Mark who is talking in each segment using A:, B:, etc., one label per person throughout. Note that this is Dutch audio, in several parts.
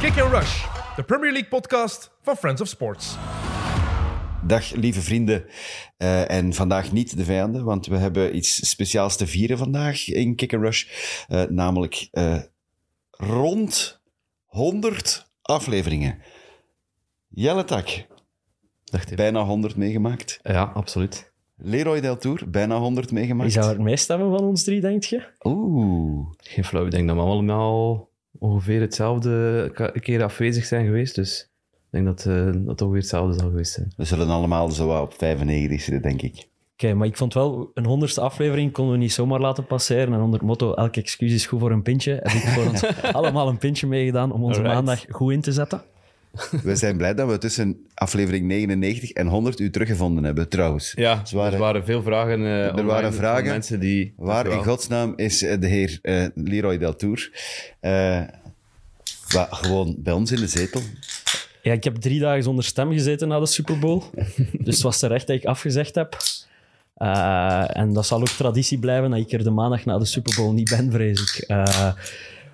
A: Kick and Rush, de Premier League podcast van Friends of Sports.
B: Dag lieve vrienden Eh, en vandaag niet de vijanden, want we hebben iets speciaals te vieren vandaag in Kick and Rush. Eh, namelijk eh, rond 100 afleveringen. Jelle Tak,
C: Dacht ik.
B: bijna 100 meegemaakt.
C: Ja, absoluut.
B: Leroy Del Tour, bijna 100
D: Wie
B: meegemaakt.
D: zou er meest hebben van ons drie, denk je?
B: Oeh,
C: Geen flauw. Ik denk dat we allemaal ongeveer hetzelfde ka- keer afwezig zijn geweest. Dus ik denk dat eh, dat ongeveer hetzelfde zal geweest zijn.
B: we zullen allemaal zo wat op 95 zitten, denk ik.
D: Oké, maar ik vond wel, een honderdste aflevering konden we niet zomaar laten passeren. En onder het motto, elk excuus is goed voor een pintje, heb ik voor ons allemaal een pintje meegedaan om onze
C: Alright.
D: maandag goed in te zetten.
B: We zijn blij dat we tussen aflevering 99 en 100 u teruggevonden hebben, trouwens.
C: Ja,
B: Zware-
C: Dus er waren veel vragen. eh, online
B: waren
C: van
B: vragen.
C: Mensen die,
B: Waar in
C: Dankjewel.
B: godsnaam is eh, de heer eh, Leroy Deltour? Eh wa- gewoon bij ons in de zetel.
D: Ja, ik heb drie dagen zonder stem gezeten na de Super Bowl. dus het was terecht dat ik afgezegd heb. Eh, en dat zal ook traditie blijven dat ik er de maandag na de Super Bowl niet ben, vrees ik. Eh,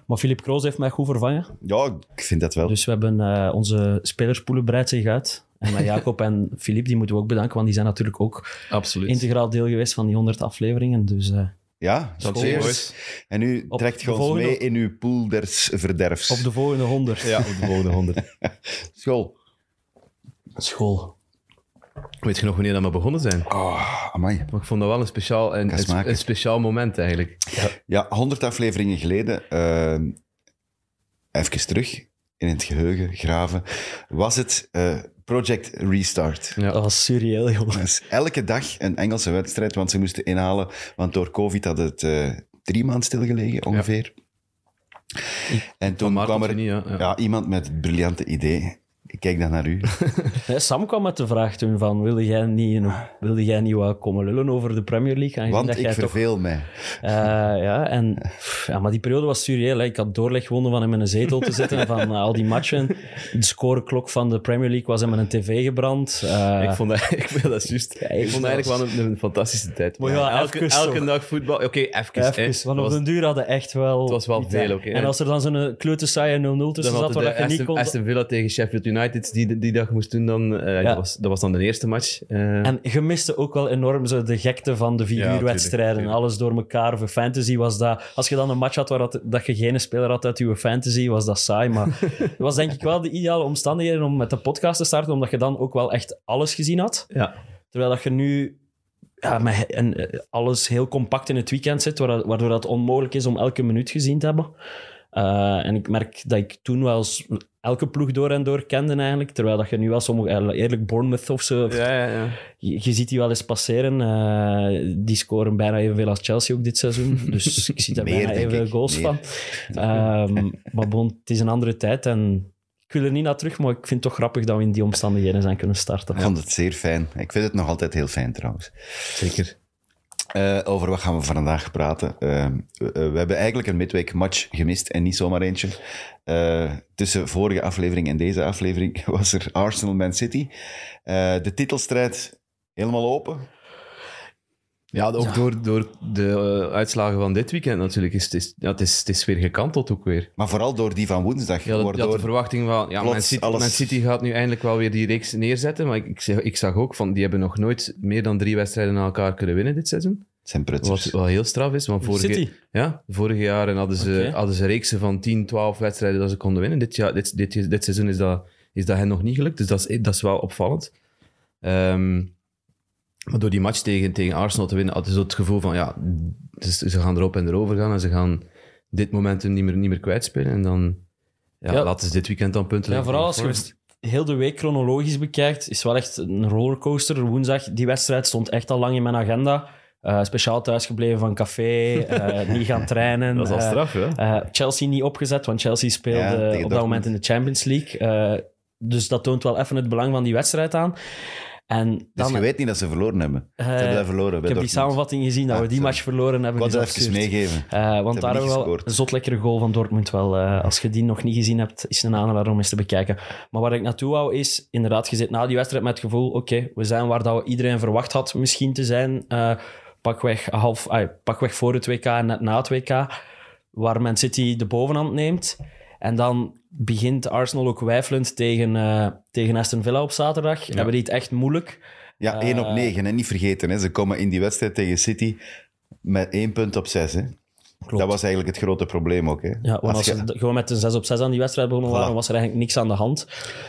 D: maar Filip Kroos heeft mij goed vervangen.
B: Ja, ik vind dat wel.
D: Dus we hebben eh, onze spelerspoelen breidt zich uit. En aan Jacob en Filip, die moeten we ook bedanken, want die zijn natuurlijk ook
C: Absoluut.
D: integraal deel geweest van die 100 afleveringen. Dus eh,
B: ja,
C: Dat
B: cheers.
C: is mooi.
B: En nu
D: Op
B: trekt
D: de
B: je ons
D: volgende-
B: mee in uw pool des verderfs.
D: op de volgende 100.
C: Ja, op de volgende 100.
B: school.
D: School.
C: Weet je nog wanneer dat we begonnen zijn?
B: Oh, amai.
C: Maar ik vond dat wel een speciaal, een,
B: Ga
C: een,
B: smaken.
C: een speciaal moment eigenlijk.
B: Ja, 100 afleveringen geleden, eh, even terug in het geheugen graven, was het eh, Project Restart.
C: Ja.
D: Dat was surreëel, joh.
B: Dus elke dag een Engelse wedstrijd, want ze moesten inhalen. Want door COVID had het eh, drie maanden stilgelegen, ongeveer. En toen
C: Maart
B: kwam
C: tot
B: er
C: juni, ja, ja.
B: ja, iemand met het briljante idee. Ik kijk dan naar u.
D: Nee, Sam kwam met de vraag toen van, wilde jij niet, wilde jij niet wat komen lullen over de Premier League? Aangezien
B: Want
D: dat
B: ik
D: jij toch
B: verveel mij.
D: Eh, ja, en, pff, ja, maar die periode was surreëel. hè. Ik had doorleg gewonnen van hem in een zetel te zitten, van eh, al die matchen. De scoreklok van de Premier League was hem in een tv gebrand. Eh,
C: ik vond dat, ik vind dat juist. ik vond dat eigenlijk wel een, een fantastische tijd.
D: Maar ja,
C: elke,
D: even zo.
C: elke dag voetbal. Oké, even.
D: Even,
C: hè.
D: want
C: Dat
D: op
C: was-
D: den duur hadden echt wel... Het
C: was wel veel ook, hè.
D: En als er dan zo'n kleuter saaie 0-0 tussen
C: Dan
D: zat,
C: had
D: waar
C: de
D: dat je niet
C: Aston,
D: kon...
C: Aston Villa tegen Sheffield United die, die dag moest doen, dan, eh, dat, was, dat was dan de eerste match. Eh,
D: En je miste ook wel enorm zo de gekte van de vier
C: Ja,
D: uur
C: tuurlijk,
D: wedstrijden.
C: tuurlijk.
D: Alles door elkaar. Voor fantasy was dat... Als je dan een match had waar dat, dat je geen speler had uit je fantasy, was dat saai. Maar het was denk ik wel de ideale omstandigheden om met de podcast te starten, omdat je dan ook wel echt alles gezien had.
C: ja,
D: Terwijl dat je nu ja, met he- en, eh, alles heel compact in het weekend zit, waardoor, waardoor dat onmogelijk is om elke minuut gezien te hebben. Eh, en ik merk dat ik toen wel s- elke ploeg door en door kende eigenlijk, terwijl dat je nu wel sommige, eh, eerlijk Bournemouth of zo,
C: ja, ja, ja.
D: je, je ziet die wel eens passeren. Eh, die scoren bijna evenveel als Chelsea ook dit seizoen, dus ik zie daar
B: Meer,
D: bijna
B: denk
D: evenveel
B: ik.
D: goals
B: Meer.
D: van. Ehm, maar bon, het is een andere tijd en ik wil er niet naar terug, maar ik vind het toch grappig dat we in die omstandigheden zijn kunnen starten.
B: Ik vond het zeer fijn. Ik vind het nog altijd heel fijn trouwens.
C: zeker.
B: Eh, over wat gaan we vandaag praten? Eh, we, eh, we hebben eigenlijk een midweek match gemist en niet zomaar eentje. Eh, tussen vorige aflevering en deze aflevering was er Arsenal Man City. Eh, de titelstrijd helemaal open.
C: Ja, ook Door, door de eh, uitslagen van dit weekend natuurlijk. Is, het is, ja, het, is, het is weer gekanteld ook weer.
B: Maar vooral door die van woensdag.
C: Ja, dat, ja, de
B: waardoor-
C: verwachting van ja,
B: Plots
C: Man, City,
B: alles-
C: Man City gaat nu eindelijk wel weer die reeks neerzetten. Maar ik, ik, zeg- ik zag ook van die hebben nog nooit meer dan drie wedstrijden na elkaar kunnen winnen dit seizoen.
B: zijn
C: Wat
B: prutsers.
C: wel heel straf is. Want vorige,
D: City?
C: Ja, vorig jaar hadden ze,
D: Oké.
C: hadden ze reeksen van 10, 12 wedstrijden dat ze konden winnen. Dit, jaar, dit, dit, dit seizoen is dat, is dat hen nog niet gelukt, dus dat is, dat is wel opvallend. Ehm, maar door die match tegen, tegen Arsenal te winnen, hadden ze het gevoel van ja, dus ze gaan erop en erover gaan en ze gaan dit momentum niet meer, niet meer kwijtspelen. En dan ja,
D: Ja.
C: laten ze dit weekend dan punten
D: Ja,
C: liggen
D: vooral als
C: tegen Forest.
D: je heel de week chronologisch bekijkt, is wel echt een rollercoaster. Woensdag, die wedstrijd stond echt al lang in mijn agenda. Eh, speciaal thuisgebleven van café, eh, niet gaan trainen.
C: Dat is al
D: eh,
C: straf, hè?
D: eh, Chelsea niet opgezet, want Chelsea speelde
B: Ja, tegen
D: eh, op dat
B: Dortmund.
D: moment in de Champions League. Eh, dus dat toont wel even het belang van die wedstrijd aan. En
B: Dus
D: dan, eh,
B: je weet niet dat ze verloren hebben. ze hebben dat verloren.
D: ik heb die samenvatting gezien dat
B: Ah,
D: we die
B: sorry.
D: match verloren
B: Ik
D: hebben.
B: wou
D: is
B: dat even
D: absurd.
B: meegeven.
D: Eh, want daar
B: niet
D: hebben we wel
B: gescoord.
D: een zot lekkere goal van Dortmund wel. eh, als je die nog niet gezien hebt, is een aanrader om eens te bekijken. Maar waar ik naartoe wou is, inderdaad, je zit na die wedstrijd met het gevoel, oké, we zijn waar dat we iedereen verwacht had misschien te zijn. Eh, pakweg, half, ah, pakweg voor het WK en net na het WK, waar Man City de bovenhand neemt. En dan begint Arsenal ook wijfelend tegen, eh, tegen Aston Villa op zaterdag. Hebben die het echt moeilijk?
B: Ja, 1 op 9, hè. niet vergeten. Hè. Ze komen in die wedstrijd tegen City met 1 punt op 6. Hè. Dat was eigenlijk het grote probleem ook. Hè.
D: Ja, want als
B: je-
D: ze d- gewoon met een 6 op 6 aan die wedstrijd begonnen waren, was er eigenlijk niks aan de hand.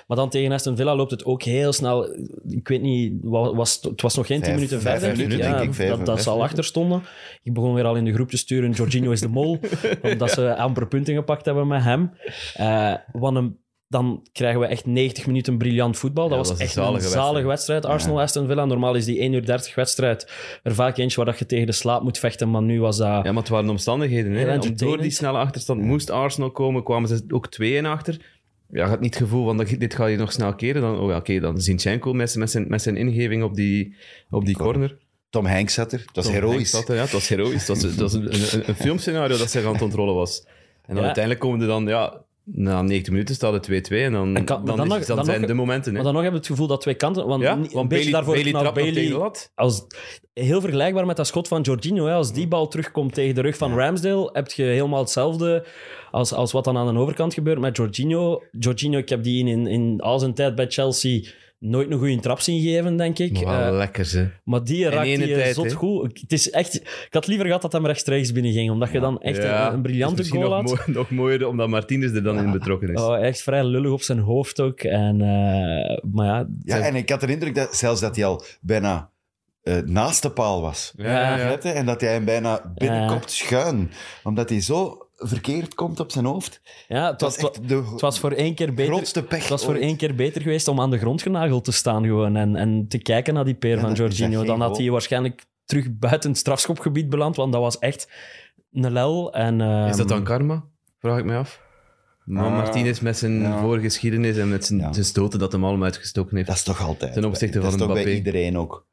D: Maar dan tegen Aston Villa loopt het ook heel snel. Ik weet niet, wa- was, het- het was nog geen 10
B: Vijf-
D: minuten
B: vijf
D: verder.
B: minuten,
D: ja,
B: denk ik, vijf-
D: dat, dat
B: vijf
D: ze al
B: minuten.
D: achter stonden. Ik begon weer al in de groep te sturen, Jorginho is de mol, omdat ze amper punten gepakt hebben met hem. Eh, wat een- dan krijgen we echt 90 minuten briljant voetbal. Dat
C: Ja,
D: was
C: dat was een
D: echt een zalige
C: zalige
D: wedstrijd. Arsenal-Aston Villa. Normaal is die 1 uur 30 wedstrijd er vaak eentje waar dat je tegen de slaap moet vechten, maar nu was dat...
C: Ja, maar het waren omstandigheden.
D: Heel
C: Hè? Om door die
D: entertainend.
C: snelle achterstand moest Arsenal komen, kwamen ze ook 2 in achter. Ja, je had niet het gevoel van, dat- dit ga je nog snel keren. Dan, oh ja, oké, dan Zinchenko met, zijn- met, zijn, met zijn ingeving op die, op die corner.
B: Tom Hanks zat er. Het was
C: Tom Hanks
B: heroïs.
C: zat er, ja, het was heroïs. Het was, het was een, een, een filmscenario dat zich aan het ontrollen was. En dan
D: Ja.
C: uiteindelijk komen er dan, ja, na 90 minuten staat het 2-2 en dan,
D: En kan- maar
C: dan,
D: dan
C: is-
D: nog-
C: dan
D: dan
C: zijn
D: nog-
C: de momenten. Hè.
D: Maar dan nog hebben we het gevoel dat twee kanten... Want,
C: ja,
D: een
C: want
D: beetje
C: Bailey,
D: daarvoor
C: Bailey
D: naar
C: trapt nog tegen de
D: Bailey
C: lat.
D: als, heel vergelijkbaar met dat schot van Jorginho. Hè. Als
C: Mm.
D: die bal terugkomt tegen de rug van Ramsdale, heb je helemaal hetzelfde als, als wat dan aan de overkant gebeurt met Jorginho. Jorginho, ik heb die in, in, in al zijn tijd bij Chelsea nooit een goede trap zien geven, denk ik.
C: Maar wel
D: Eh,
C: lekker, ze.
D: maar die raakt
C: ene
D: die eh,
C: tijd,
D: zot
C: hè.
D: goed. Ik- Het is echt, ik had liever gehad dat hem rechtstreeks binnenging, omdat je dan echt
C: Ja,
D: een, een
C: dat
D: briljante
C: is misschien
D: goal
C: nog,
D: had.
C: mooi- nog mooier, omdat Martinez er dan in betrokken is.
D: Oh, echt vrij lullig op zijn hoofd ook. En, eh, maar ja,
B: Ja, en ik had de indruk dat zelfs dat hij al bijna eh, naast de paal was.
D: Ja.
B: Net, hè, En dat hij hem bijna
D: Eh.
B: binnenkomt schuin. Omdat hij zo verkeerd komt op zijn hoofd.
D: ja, het
B: Het was
D: was-
B: echt de
D: Het was voor één keer beter.
B: grootste pech
D: het was voor
B: ooit.
D: één keer beter geweest om aan de grond genageld te staan gewoon en, en te kijken naar die peer
B: Ja,
D: van
B: dat is echt
D: Jorginho.
B: geen
D: Dan had
B: goal.
D: hij waarschijnlijk terug buiten het strafschopgebied beland, want dat was echt een lel. En, ehm,
C: Is dat dan karma? Vraag ik me af. Maar
B: Ah,
C: Martinez met zijn
B: ja.
C: voorgeschiedenis en met zijn,
B: Ja.
C: zijn stoten dat hem allemaal uitgestoken heeft.
B: Dat is toch altijd.
C: Ten opzichte
B: dat is
C: van
B: toch bij
C: Mbappé.
B: iedereen ook.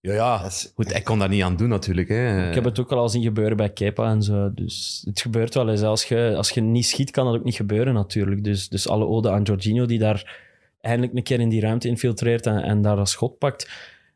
C: ja, ja.
B: Dat is-
C: Goed, hij kon daar niet aan doen natuurlijk. Hè.
D: Ik heb het ook al zien gebeuren bij Kepa en zo. Dus het gebeurt wel eens. Als je, als je niet schiet, kan dat ook niet gebeuren natuurlijk. Dus, dus alle ode aan Jorginho die daar eindelijk een keer in die ruimte infiltreert en, en daar dat schot pakt.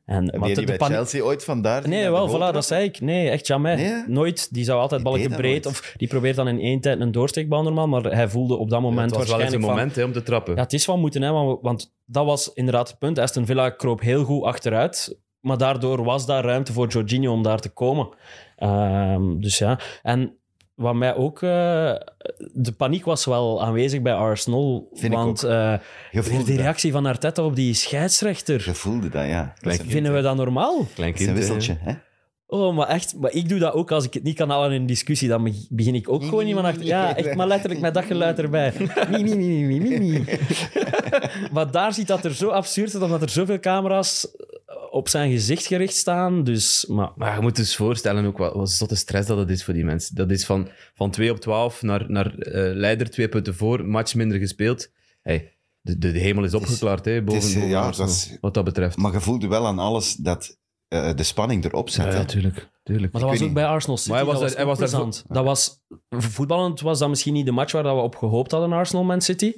D: En,
B: Heb jij
D: de-
B: die
D: de
B: bij
D: panie-
B: Chelsea ooit vandaar?
D: Nee, wel, voilà, dat zei ik. Nee, echt jamais.
B: Nee, hè?
D: Nooit. Die zou altijd
B: Die
D: balken
B: deed dat
D: breed.
B: nooit.
D: Of die probeert dan in één tijd een doorsteekbal normaal. Maar hij voelde op dat
C: Ja,
D: moment
C: het was wel eens
D: waarschijnlijk
C: een
D: van-
C: moment hè, om te trappen.
D: ja, het is van moeten, hè, want, we- want dat was inderdaad het punt. Aston Villa kroop heel goed achteruit. Maar daardoor was daar ruimte voor Jorginho om daar te komen. Ehm, dus ja. En wat mij ook... eh, de paniek was wel aanwezig bij Arsenal.
B: Vind ik
D: want eh,
B: Je
D: weer
B: voelde
D: die
B: dat.
D: reactie van Arteta op die scheidsrechter.
B: Je voelde dat, ja. Dat is een-
D: Vinden we dat normaal?
C: Klein
B: dat is
C: kind.
B: een
C: hè.
B: wisseltje, hè?
D: Oh, maar echt, maar ik doe dat ook als ik het niet kan halen in een discussie, dan beg- begin ik ook gewoon iemand achter. Ja, echt, maar letterlijk met dat geluid erbij. Mie, mie, mie, mie, mie, mie. Maar daar ziet dat er zo absurd uit, omdat er zoveel camera's eh, op zijn gezicht gericht staan. Dus, maar
C: Maar je moet dus voorstellen ook wat, wat zotte stress dat het is voor die mensen. Dat is van, van 2 op 12 naar, naar eh, leider, twee punten voor, match minder gespeeld. Hey, de, de, de hemel is opgeklaard hè, boven,
B: het is, eh,
C: boven
B: ja,
C: Arsenal,
B: dat is-
C: wat dat betreft.
B: Maar je voelde wel aan alles dat eh, de spanning erop zat.
C: ja,
B: hè.
C: ja, tuurlijk. tuurlijk.
D: Maar dat was
B: weet
D: ook
B: niet.
D: bij Arsenal City.
C: Maar hij was
D: dat was,
C: daar- hij was daar
D: plezant. Dat was, voetballend was dat misschien niet de match waar dat we op gehoopt hadden, Arsenal-Man City.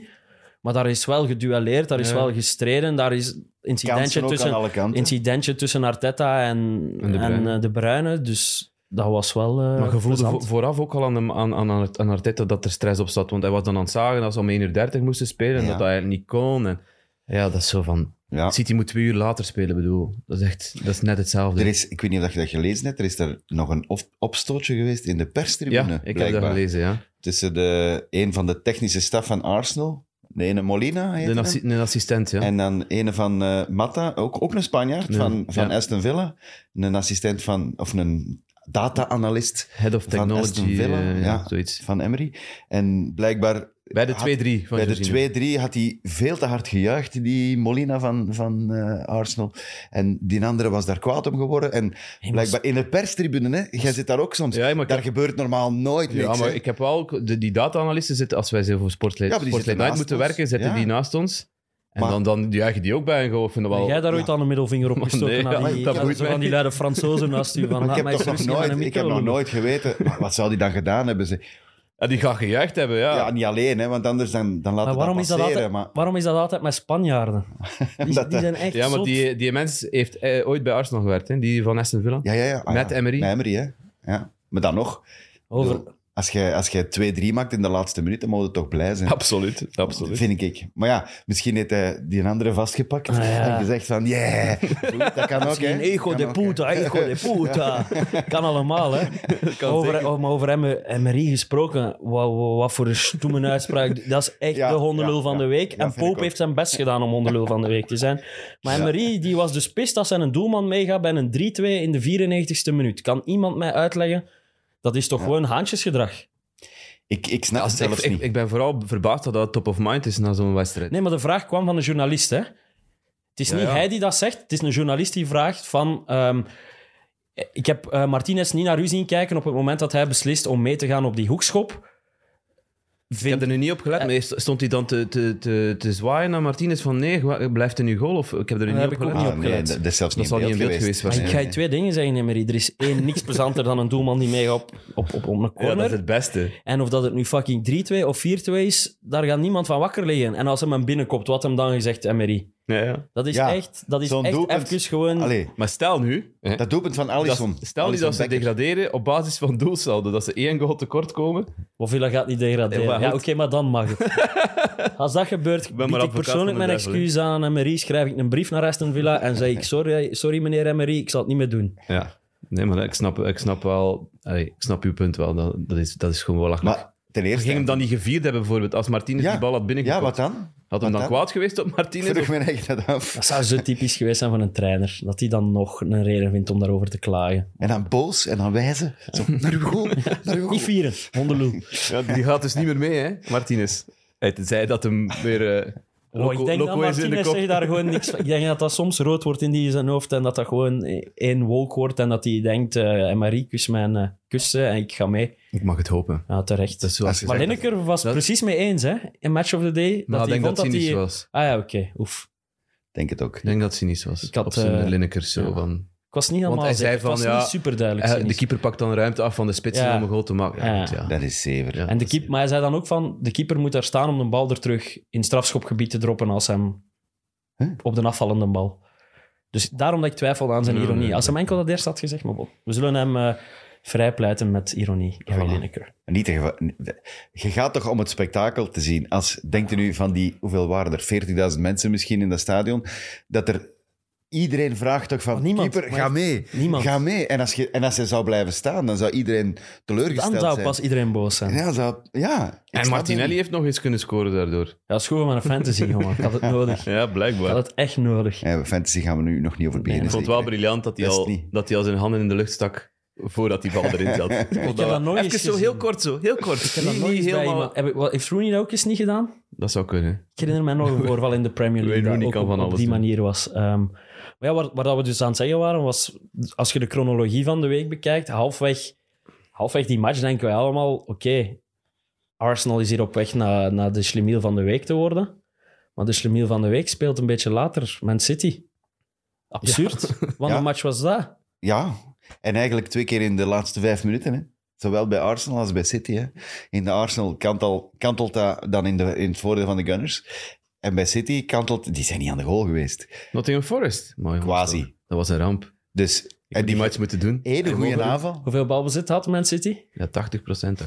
D: Maar daar is wel geduelleerd, daar is
C: Ja.
D: wel gestreden, daar is
B: Kansen
D: incidentje
B: ook
D: tussen,
B: aan alle kanten.
D: incidentje tussen Arteta en, en,
C: En De
D: eh,
C: Bruyne.
D: de, Bruyne. Dus dat was wel eh
C: Maar je voelde
D: plezant.
C: vo- vooraf ook al aan, hem, aan, aan, Ar- aan Arteta dat er stress op zat. Want hij was dan aan het zagen dat ze om 1 uur 30 moesten spelen en
B: Ja.
C: dat hij het niet kon. En, ja, dat is zo van...
B: Ja.
C: City moet twee uur later spelen, bedoel. Dat is echt... Dat is net hetzelfde.
B: Er is, ik weet niet of dat je dat gelezen hebt, er is er nog een op- opstootje geweest in de perstribune.
C: ja, ik heb dat
B: blijkbaar.
C: gelezen, ja.
B: Tussen de, een van de technische staf van Arsenal, de ene Molina heet
C: De
B: hij.
C: assi- een assistent, ja.
B: en dan een van eh Matta, ook, ook een Spanjaard
C: Ja,
B: van, van
C: ja.
B: Aston Villa. Een assistent van, of een data-analyst
C: Head of
B: van
C: Technology,
B: Aston Villa,
C: eh,
B: ja.
C: zoiets.
B: van Emery. En blijkbaar
C: Bij de
B: Had-
C: 2-3 van
B: Bij
C: Jorginho.
B: de 2-3 had hij veel te hard gejuicht, die Molina van, van eh, Arsenal. En die andere was daar kwaad om geworden. En blijkbaar in de perstribune, hè, jij zit daar ook soms.
C: Ja, maar ik
B: daar
C: heb-
B: gebeurt normaal nooit
C: Ja,
B: niks.
C: maar
B: hè.
C: ik heb wel... ook- De, die data-analisten zitten, als wij ze voor Sportlight,
B: Ja, maar die zitten
C: Sportlight Night moeten
B: naast ons.
C: werken, zitten
B: Ja.
C: die naast ons. En
B: Maar-
C: dan, dan juichen die ook bij en gewoon vinden
D: Heb
C: wel...
D: jij daar ooit al een middelvinger op gestoken?
C: nee,
D: naar
C: ja,
D: die,
B: maar ik heb
D: naar
B: ooit
D: zo van
C: mijn-
D: die luide Fransozen naast u. Van,
B: Maar
D: laat
B: ik
D: mij
B: heb toch
D: eens
B: nog
D: rustig aan
B: nooit,
D: een
B: ik heb
D: micro
B: nog
D: doen.
B: nooit geweten. maar wat zou die dan gedaan hebben? Ze,
C: En die gaan gejuicht hebben,
B: ja. niet alleen, hè, want anders dan, dan laat
D: Maar
B: het
D: waarom
B: dat
D: is dat,
B: passeren.
D: altijd,
B: maar,
D: waarom is dat altijd met Spanjaarden? Die,
B: Omdat,
D: die
B: eh,
D: zijn echt
C: Ja, maar
D: zot.
C: die, die mens heeft eh, ooit bij Arsenal gewerkt, hè? die van Aston Villa.
B: ja, ja, ja. Ah,
C: Met
B: ja.
C: Emery.
B: Met Emery, hè. Ja. Maar dan nog.
D: Over,
B: Als jij, als jij 2-3 maakt in de laatste minuut, dan moet je toch blij zijn.
C: Absoluut, absoluut.
B: Vind ik. Maar ja, misschien heeft hij die andere vastgepakt
D: Ah, ja.
B: en gezegd van, yeah, Goed, dat kan ook, hè.
D: Geen ego
B: Kan
D: de
B: ook,
D: puta, ego de puta. Kan allemaal, hè.
C: kan
D: over,
C: zeker.
D: oh, maar over hem, Emery gesproken, wat, wat, wat voor een stoeme uitspraak. Dat is echt
B: Ja,
D: de hondenlul
B: ja,
D: van
B: ja.
D: de week.
B: Ja,
D: en
B: vind ik
D: Pope
B: ook.
D: heeft zijn best gedaan om hondenlul van de week te zijn. Maar Emery die was dus pist als zijn een doelman meegaat bij een 3-2 in de 94ste minuut. Kan iemand mij uitleggen? Dat is toch gewoon haantjesgedrag?
B: Ik, ik snap
C: Als,
B: het
C: ik,
B: zelfs
C: ik,
B: niet.
C: ik ben vooral verbaasd dat dat top of mind is na zo'n wedstrijd.
D: Nee, maar de vraag kwam van een journalist, hè? Het is
C: Ja,
D: niet
C: ja.
D: hij die dat zegt, het is een journalist die vraagt van... ehm, ik heb eh, Martinez niet naar u zien kijken op het moment dat hij beslist om mee te gaan op die hoekschop.
C: Ik heb er nu niet op gelet, maar stond hij dan te, te, te, te zwaaien naar Martinez van nee, wa- blijft hij nu goal? Of ik heb er nu
D: Dat
C: niet
D: heb
C: op
D: ik ook
C: gelet.
D: niet
B: Ah, nee,
D: opgelet.
B: dat dat is zelfs
C: Dat
B: niet
C: zal
B: in
C: niet
B: beeld
C: in beeld
B: geweest. Ah,
C: geweest
D: Maar Ah,
C: Nee,
D: ik ga je twee dingen zeggen, Emery. Er is één niks plezanter dan een doelman die meegaat op, op, op, op een
C: Ah, Ja, dat
D: corner.
C: is het beste.
D: En of dat het nu fucking 3-2 of 4-2 is, daar gaat niemand van wakker liggen. En als hem hem binnenkomt, wat hem dan gezegd, Emery?
C: Ja, ja.
D: Dat is
B: Ja,
D: echt, dat is
B: zo'n
D: echt
B: doelpunt.
D: even gewoon...
B: Allee,
C: Maar stel nu, hè,
B: dat doelpunt van
C: dat-
B: Alisson.
C: stel nu
B: Alisson
C: dat ze
B: Becker.
C: degraderen op basis van doelsaldo, dat ze één goal tekort komen.
D: Of Villa gaat niet degraderen.
C: Ja,
D: Ja,
C: maar
D: oké,
C: goed.
D: maar dan mag het. Als dat gebeurt,
C: ben
D: bied
C: maar
D: ik
C: advocaat
D: persoonlijk
C: van
D: mijn
C: de duivel, hè.
D: excuus aan Emery. Schrijf ik een brief naar Aston Villa en zeg ik... Sorry, sorry meneer Emery, ik zal het niet meer doen.
C: Ja. Nee, maar ik snap, ik snap wel, allee, ik snap uw punt wel. Dat, dat, is, dat is gewoon wel lachelijk.
B: Maar ten eerste...
C: ging hem dan niet gevierd hebben bijvoorbeeld, als Martinez
B: Ja.
C: die bal had
B: Ja,
C: binnengekomen.
B: wat dan?
C: had hem
B: wat
C: dan
B: dan?
C: kwaad geweest op Martinez?
B: Vroeg
C: Of,
B: me echt dat af.
D: Dat zou zo typisch geweest zijn van een trainer. Dat hij dan nog een reden vindt om daarover te klagen.
B: En dan boos en dan wijzen. Zo, naar uw goal, naar uw goal.
D: Niet vieren, hondenloel.
C: ja, die gaat dus niet meer mee, hè, Martinez. Hij zei dat hem weer... eh
D: Oh, ik denk dat
C: is in de
D: Martinez
C: kop.
D: zegt daar gewoon niks van. Ik denk dat dat soms rood wordt in die zijn hoofd en dat dat gewoon één wolk wordt en dat hij denkt, eh en Marie, kus mijn eh, kussen en ik ga mee.
C: Ik mag het hopen.
D: Ja, terecht.
C: Dat is zoals je
D: maar
C: zegt.
D: Lineker was
C: dat-
D: precies mee eens, hè? In Match of the Day.
C: Maar ik
D: hij
C: denk dat
D: vond
C: cynisch
D: hij-
C: was.
D: Ah ja, oké. Oef.
B: denk het ook.
C: Ik denk dat cynisch was.
D: Ik had,
C: Op zijn
D: eh,
C: Lineker zo
D: ja.
C: van...
D: Ik was niet helemaal
C: hij zei
D: zeker. Het was
C: van, ja,
D: niet superduidelijk.
C: eh,
D: cynisch.
C: de keeper pakt dan ruimte af van de spitsen
D: Ja.
C: om een goal te maken. Ja,
D: Ja.
C: goed, ja.
B: Dat is zeker.
C: Ja.
D: en de keep, maar hij zei dan ook van, de keeper moet daar staan om de bal er terug in strafschopgebied te droppen als hem
B: Huh?
D: op de afvallende bal. Dus daarom dat ik twijfelde aan zijn
C: Nee,
D: ironie.
C: nee,
D: Als hem enkel dat eerst had gezegd, maar bon. we zullen hem eh, vrijpleiten met ironie, Gary Lineker.
B: Niet te geva- je gaat toch om het spektakel te zien. Als, denkt u nu van die, hoeveel waren er? 40.000 mensen misschien in dat stadion. Dat er iedereen vraagt toch van,
D: Maar Oh, niemand,
B: keeper,
D: maar
B: ga mee.
D: niemand.
B: Ga mee. En als, je, en als hij zou blijven staan, dan zou iedereen teleurgesteld
D: Dan zou
B: zijn.
D: pas iedereen boos zijn.
B: Ja, zou, ja. ik
C: En
B: snap
C: Martinelli
B: het
C: heeft nog eens kunnen scoren daardoor.
D: Ja, dat is goed om aan een fantasy, jongen. Ik had het nodig.
C: Ja,
D: Ik
C: blijkbaar.
D: had het echt nodig.
B: niet. Ja, fantasy gaan we nu nog niet over beginnen.
C: ik vond het wel
B: zeker.
C: briljant dat hij,
B: Dat is
C: al,
B: niet.
C: dat hij al zijn handen in de lucht stak voordat die bal erin zat. Ik vond
D: dat
C: wel-
D: nooit
C: Even
D: eens
C: zo,
D: gezien.
C: heel kort zo. Heel kort.
D: Ik heb dat
C: Niet-
D: nog
C: niet
D: eens bij
C: helemaal-
D: iemand- heb ik- wat- Heeft Rooney dat ook eens niet gedaan?
C: Dat zou kunnen.
D: Ik herinner mij nog een voorval in de Premier League
C: Wayne
D: dat
C: Rooney
D: ook
C: kan
D: op,
C: van
D: op
C: alles
D: die
C: doen.
D: manier was. Ehm, maar ja, waar, waar dat we dus aan het zeggen waren, was als je de chronologie van de week bekijkt, halfweg, halfweg die match denken wij allemaal, oké, Arsenal is hier op weg naar, naar de Schlemiel van de week te worden. Maar de Schlemiel van de week speelt een beetje later, Man City. Absurd. Wat
B: Ja.
D: een match was dat?
B: Ja, en eigenlijk twee keer in de laatste vijf minuten. Hè. Zowel bij Arsenal als bij City. Hè. In de Arsenal kantel, kantelt dat dan in, de, in het voordeel van de Gunners. En bij City kantelt... Die zijn niet aan de goal geweest.
C: Nottingham Forest. Mooi,
B: Quasi.
C: jongens, Dat was een ramp. Ik
B: Dus
C: heb
B: en
C: die
B: die
C: match moeten doen.
B: hele
C: En
B: goede
C: mogen-
B: aanval.
D: Hoeveel balbezit had Man City?
C: Ja, 80 procent.